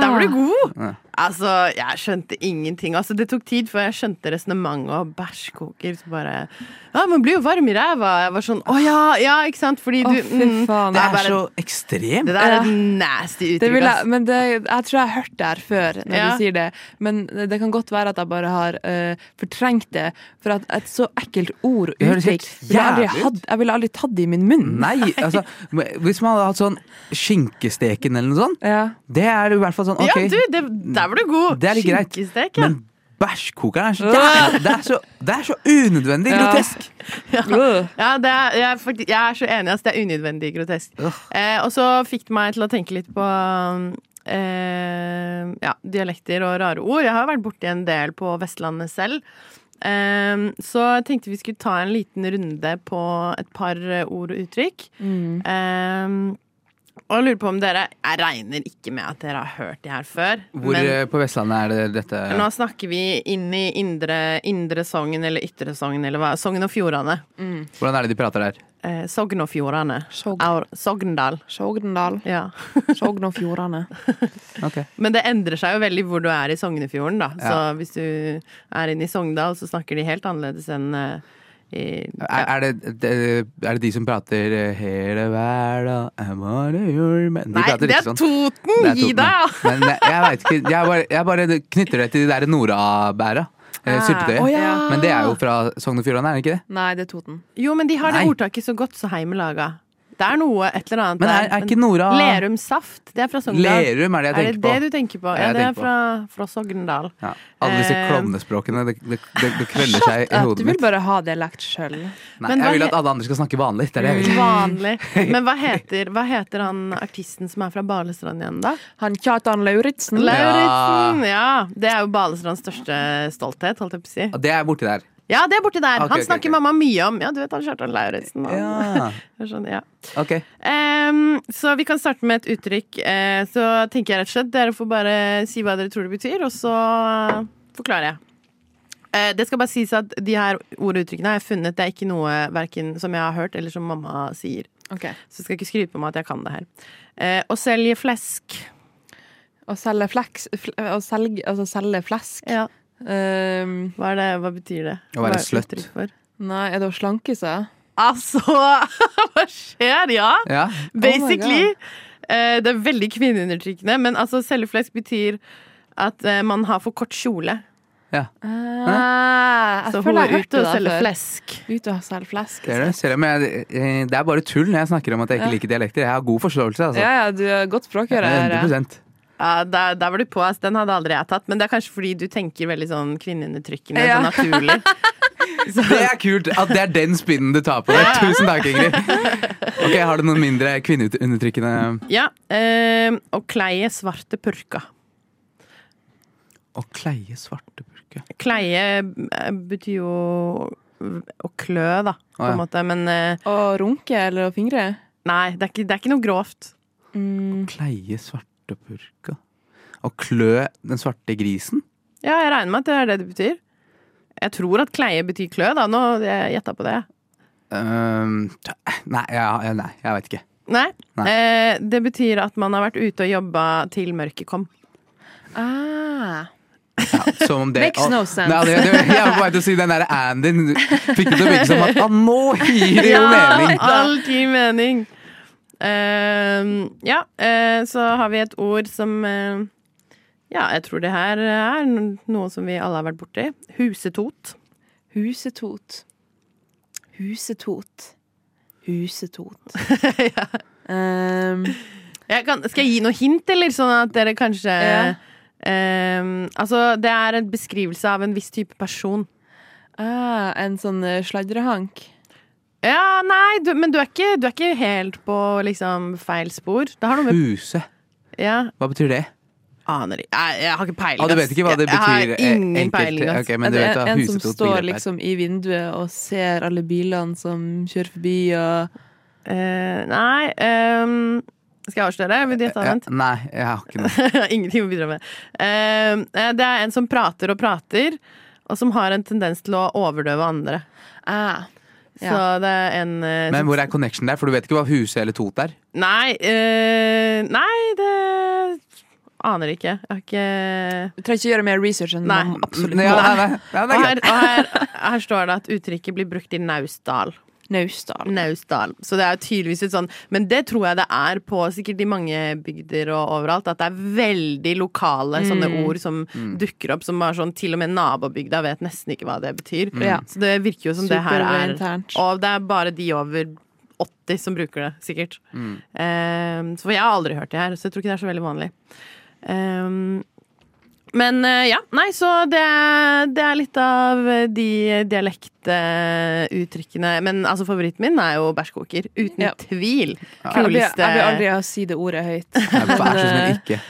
S4: Der var du god!
S2: Ja.
S4: Altså, jeg skjønte ingenting. Altså, det tok tid før jeg skjønte resonnementet og bæsjkoker. Så bare Ja, man blir jo varm i ræva. Jeg var sånn Å ja, ja, ikke sant? Fordi
S3: Å,
S4: du
S3: fy
S4: mm,
S3: faen.
S4: Det
S2: Det
S4: er
S2: er
S4: bare
S2: så ekstremt!
S4: Det der er et
S3: Ja.
S4: nasty
S3: Det vil
S4: uttrykk.
S3: jeg,
S4: ass.
S3: men det, jeg tror jeg har hørt det her før, når
S4: Ja.
S3: du sier det. Men det kan godt være at jeg bare har eh, fortrengt det. For at et så ekkelt ord og
S2: Det høres helt
S3: uttrykk ville jeg,
S2: jævlig
S3: aldri hatt- jeg ville aldri tatt det i min munn.
S2: Nei, altså Hvis man hadde hatt sånn skinkesteken eller noe sånt,
S3: Ja.
S2: det er det i hvert fall sånn OK.
S4: Ja, du, det, der var du god.
S2: Det er litt greit.
S4: Skinkestek, ja.
S2: Men bæsjkokeren er så jævlig Det er så, det er så unødvendig
S3: Ja.
S2: grotesk!
S3: Øh.
S4: Ja, det er, jeg, er faktisk, jeg er så enig. ass. det er unødvendig grotesk.
S2: Ugh.
S4: Eh, og så fikk det meg til å tenke litt på um, eh, ja, dialekter og rare ord. Jeg har vært borti en del på Vestlandet selv. Eh, så jeg tenkte vi skulle ta en liten runde på et par eh, ord og uttrykk.
S2: Mm.
S4: Eh, og jeg lurer på om dere Jeg regner ikke med at dere har hørt det her før.
S2: Hvor
S4: men-
S2: eh, på Vestlandet er det dette
S4: nå snakker vi inn i indre, indre Sogn eller Ytre Sogn eller hva? Sogn og Fjordane.
S2: Hvordan er det de prater der?
S4: Eh, Sogn og Fjordane.
S3: Sogn.
S4: Aur- Sogndal.
S3: Sogndal.
S4: Ja.
S3: Sogn og Fjordane.
S2: Ok.
S4: Men det endrer seg jo veldig hvor du er i Sognefjorden, da. Så
S2: Ja.
S4: hvis du er inne i Sogndal, så snakker de helt annerledes enn eh, i
S2: Er, er, det, det, er det de som prater eh, hele verden er bare jordmenn? De
S4: Nei,
S2: prater ikke
S4: det er
S2: sånn.
S4: Toten!
S2: Det er Toten,
S4: Gi
S2: ja.
S4: deg!
S2: Men eh, jeg vet ikke Jeg bare, jeg bare knytter det til de der Nora-bæra. Eh, Syltetøyet.
S4: Ah, å
S3: ja.
S2: Men det er jo fra Sogn og Fjordane, er det ikke det?
S3: Nei, det er Toten.
S4: Jo, men de har det
S2: Nei.
S4: ordtaket så godt så heimelaga. Det er noe, et eller annet
S2: Men er,
S4: der.
S2: er ikke Nora
S4: Lerum saft, det er fra Sogndal.
S2: Lerum er det jeg
S4: Er det
S2: tenker på.
S4: det du tenker på?
S2: Ja,
S4: Ja,
S2: jeg
S4: det er
S2: tenker på.
S4: fra, fra Sogndal.
S2: Ja, alle disse
S4: Eh,
S2: klovnespråkene. Det, det, det, det kveller seg i
S3: Du
S2: hodet
S3: vil
S2: mitt.
S3: bare ha det lekt sjøl.
S2: Nei,
S4: Men hva
S2: jeg vil
S4: he-
S2: at alle andre skal snakke vanlig. Det er det jeg vil.
S4: Vanlig. Men hva heter, hva heter han artisten som er fra Balestrand igjen, da?
S3: Han Kjartan Lauritzen.
S2: Ah.
S4: Lauritzen! Ja. Det er jo Balestrands største stolthet, holdt jeg på å si.
S2: Og Det er borti der.
S4: Ja, det er borti der!
S2: Ah, Ok, ok,
S4: han snakker
S2: ok.
S4: mamma mye om. Ja, du vet han Kjartan Lauritzen. han-
S2: Ja.
S4: Jeg skjønner, ja.
S2: Ok.
S4: Ehm, så vi kan starte med et uttrykk. Eh, så tenker jeg rett og slett dere får bare si hva dere tror det betyr, og så eh, forklarer jeg. Eh, det skal bare sies at de her ord og uttrykkene har jeg funnet. Det er ikke noe hverken som jeg har hørt, eller som mamma sier.
S3: Ok.
S4: Så jeg skal ikke skryte på meg at jeg kan det her. Eh, å selge flesk.
S3: Å selge fleks fl å selge, altså selge flesk Ehm,
S4: Hva, er det, hva betyr det?
S2: Å være
S4: Hva er
S2: slutt.
S4: uttrykk for?
S3: Nei, er det å slanke seg?
S4: Altså, hva skjer? Ja!
S2: Ja.
S4: Basically.
S3: Oh
S4: Eh, det er veldig kvinneundertrykkende, men altså selgeflesk betyr at eh, man har for kort kjole.
S3: Ah, jeg
S4: Så hun
S3: føler jeg
S4: er
S3: har hørt
S4: ute
S3: det
S4: og selger
S3: der før.
S4: flesk.
S3: Ute og selge flesk.
S2: Det er, det. Selv om jeg, eh, det er bare tull når jeg snakker om at jeg ikke
S3: Ja.
S2: liker dialekter. Jeg har god forståelse. altså.
S3: Ja, ja, du er godt språkgjører.
S2: 100
S4: Ja, der, der var du på, ass. Den hadde aldri jeg tatt. Men det er kanskje fordi du tenker veldig sånn kvinneundertrykkende.
S3: Ja.
S4: Sånn naturlig.
S2: Det er kult at det er den spinnen du tar på deg. Tusen takk, Ingrid. Ok, Har du noen mindre kvinneundertrykkende
S4: Ja. Eh, å kleie svarte purka.
S2: Å kleie svarte burke
S4: Kleie eh, betyr jo å klø, da, på
S2: Å, ja.
S4: en måte. Men eh,
S3: Å runke eller å fingre?
S4: nei, det er, ikke, det er ikke noe grovt.
S3: Mm.
S2: Kleie svarte burka Å klø den svarte grisen?
S4: Ja, jeg regner med at det er det det betyr. Jeg tror at kleie betyr klø, da. Nå jeg gjetta på det. jeg.
S2: Ehm, t- nei, ja, ja, nei, jeg veit ikke.
S4: Nei.
S2: Nei.
S4: Eh, det betyr at man har vært ute og jobba til mørket kom.
S3: Ah.
S2: Ja, som om det,
S3: Makes no
S2: Å,
S3: sense.
S2: Nei, det, det, jeg var på vei til å si den der æ-en din fikk det til å virke som at ah, nå gir det jo mening!
S4: Ah, Alt gir mening. Ehm, ja, eh, så har vi et ord som eh, Ja, jeg tror det her er no- noe som vi alle har vært borti. Husetot.
S3: Husetot. Husetot. Husetot. um,
S4: Jeg kan, skal jeg gi noe hint, eller? Sånn at dere kanskje
S3: Ja.
S4: ehm, Altså, det er en beskrivelse av en viss type person.
S3: ah, en sånn eh, sladrehank.
S4: Ja, nei, du, men du er, ikke, du er ikke helt på liksom feil spor. Det har noe med
S2: Huse.
S4: Ja,
S2: Hva betyr det?
S4: aner ikke. Jeg, jeg har ikke peiling.
S2: Ah, du
S4: ass.
S2: vet ikke hva det
S4: Jeg-
S2: betyr?
S4: Jeg har ingen
S2: eh, enkelt-
S4: peiling. altså. ass.
S2: Ok, men du vet
S3: Altså, en,
S2: hva
S3: en som
S2: husetot
S3: står
S2: begrep er.
S3: liksom i vinduet og ser alle bilene som kjører forbi og
S4: Eh, nei ehm, Skal jeg avsløre? Vil sånn, du gjette
S2: Ja,
S4: annet?
S2: nei, jeg har ikke noe.
S4: Jeg har Ingenting å bidra med. Ehm, eh, det er en som prater og prater, og som har en tendens til å overdøve andre.
S3: ah. Ja.
S4: Så det er en eh,
S2: Men
S4: som-
S2: hvor er connection der? For du vet ikke hva huse eller tot er?
S4: Nei, eh, nei, det Aner ikke. Jeg har ikke
S3: Du trenger ikke gjøre mer research enn
S4: Nei.
S3: mamma.
S2: Absolutt. Nei, nei, nei, nei,
S4: Og
S2: det er
S4: her,
S2: greit.
S4: og her, her står det at uttrykket blir brukt i Naustdal.
S3: Naustdal.
S4: Naustdal. Så det er jo tydeligvis et sånn Men det tror jeg det er på sikkert i mange bygder og overalt, at det er veldig lokale sånne ord som dukker opp, som er sånn til og med nabobygda vet nesten ikke hva det betyr.
S3: Ja.
S4: Så det virker jo som det her er
S3: Superinternt.
S4: Og det er bare de over 80 som bruker det, sikkert. Eh, så for jeg har aldri hørt det her, så jeg tror ikke det er så veldig vanlig. Eh, men eh, ja, nei, så det, det er litt av de dialektuttrykkene. Men altså, favoritten min er jo bæsjkoker. Uten
S3: Ja.
S4: tvil.
S3: Jeg blir, jeg
S4: Kuleste
S3: blir aldri å si det ordet høyt.
S2: Nei, Vær så snill,
S3: Men, eh,
S2: ikke.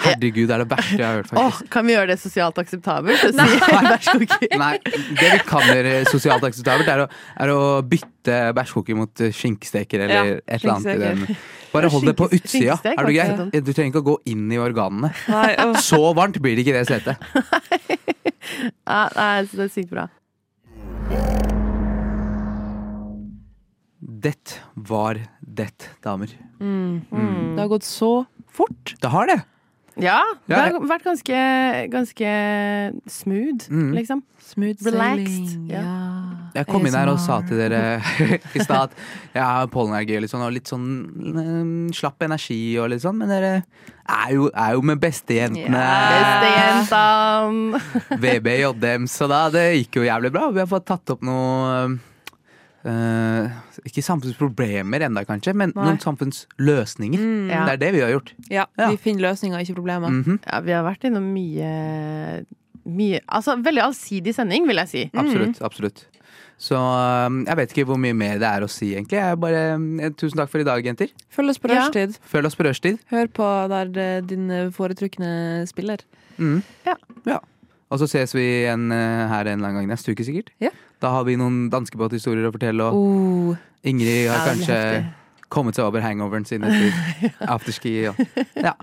S2: Herregud, det er det verste jeg har hørt,
S4: Åh,
S2: faktisk.
S4: kan vi gjøre det sosialt akseptabelt? å Si bæsjkoker.
S2: Nei, det vi kan gjøre sosialt akseptabelt, er å, er å bytte bæsjkoker mot eh, skinkesteker eller
S3: Ja,
S2: et eller annet. i
S3: skinkesteker.
S2: den. Bare hold det på
S4: Skinkes-
S2: utsida.
S4: skinkestek,
S2: Er du grei?
S4: faktisk.
S2: Du trenger ikke å gå inn i organene.
S3: Nei, åh.
S2: Så varmt blir det ikke i det setet.
S4: Ja, nei, så det er sykt bra.
S2: Det var det, damer.
S3: Det har gått så fort.
S2: Det har det!
S4: Ja, det
S2: Ja,
S4: har
S2: ja.
S4: vært ganske, ganske smooth,
S2: Mm.
S4: liksom.
S3: Smooth
S4: Relaxed,
S3: sailing.
S4: ja.
S3: Ja.
S2: Jeg kom inn her og sa
S3: ASMR.
S2: til dere i stad at jeg har pollenallergi og litt sånn, og litt sånn mm, slapp energi og litt sånn, men dere er jo, er jo med bestejentene.
S4: Eh. Bestejentene!
S2: VB i Oddheim, så da det gikk jo jævlig bra. Vi har fått tatt opp noe eh, Ikke samfunnsproblemer enda kanskje, men
S3: Nei.
S2: noen samfunnsløsninger.
S4: Mm, Ja.
S3: Mm.
S2: Det er det vi har gjort.
S3: Ja,
S2: Ja.
S3: Vi finner løsninger, ikke problemer.
S2: Mhm,
S4: Ja, vi har vært innom mye, mye Altså veldig allsidig sending, vil jeg si.
S2: Absolutt. absolutt Så eh, jeg vet ikke hvor mye mer det er å si, egentlig. Jeg er bare, eh, tusen takk for i dag, jenter.
S3: Følg oss på
S4: Ja.
S3: rushtid.
S2: Følg oss på rushtid.
S3: Hør på der eh, din foretrukne spiller.
S2: Mhm.
S4: Ja.
S2: Og så ses vi igjen eh, her en eller annen gang neste uke, sikkert.
S3: Ja.
S2: Da har vi noen danskebåthistorier å fortelle, og
S3: Oh.
S2: Ingrid har
S4: Ja, det blir
S2: kanskje
S4: heftig.
S2: kommet seg over hangoveren sin etter afterski. Og, ja.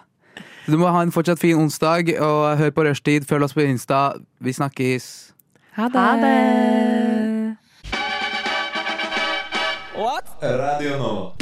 S2: Så du må ha en fortsatt fin onsdag, og hør på Rushtid. Følg oss på Insta. Vi snakkes.
S3: Ha det!
S4: Ha det.
S1: Radio Nova.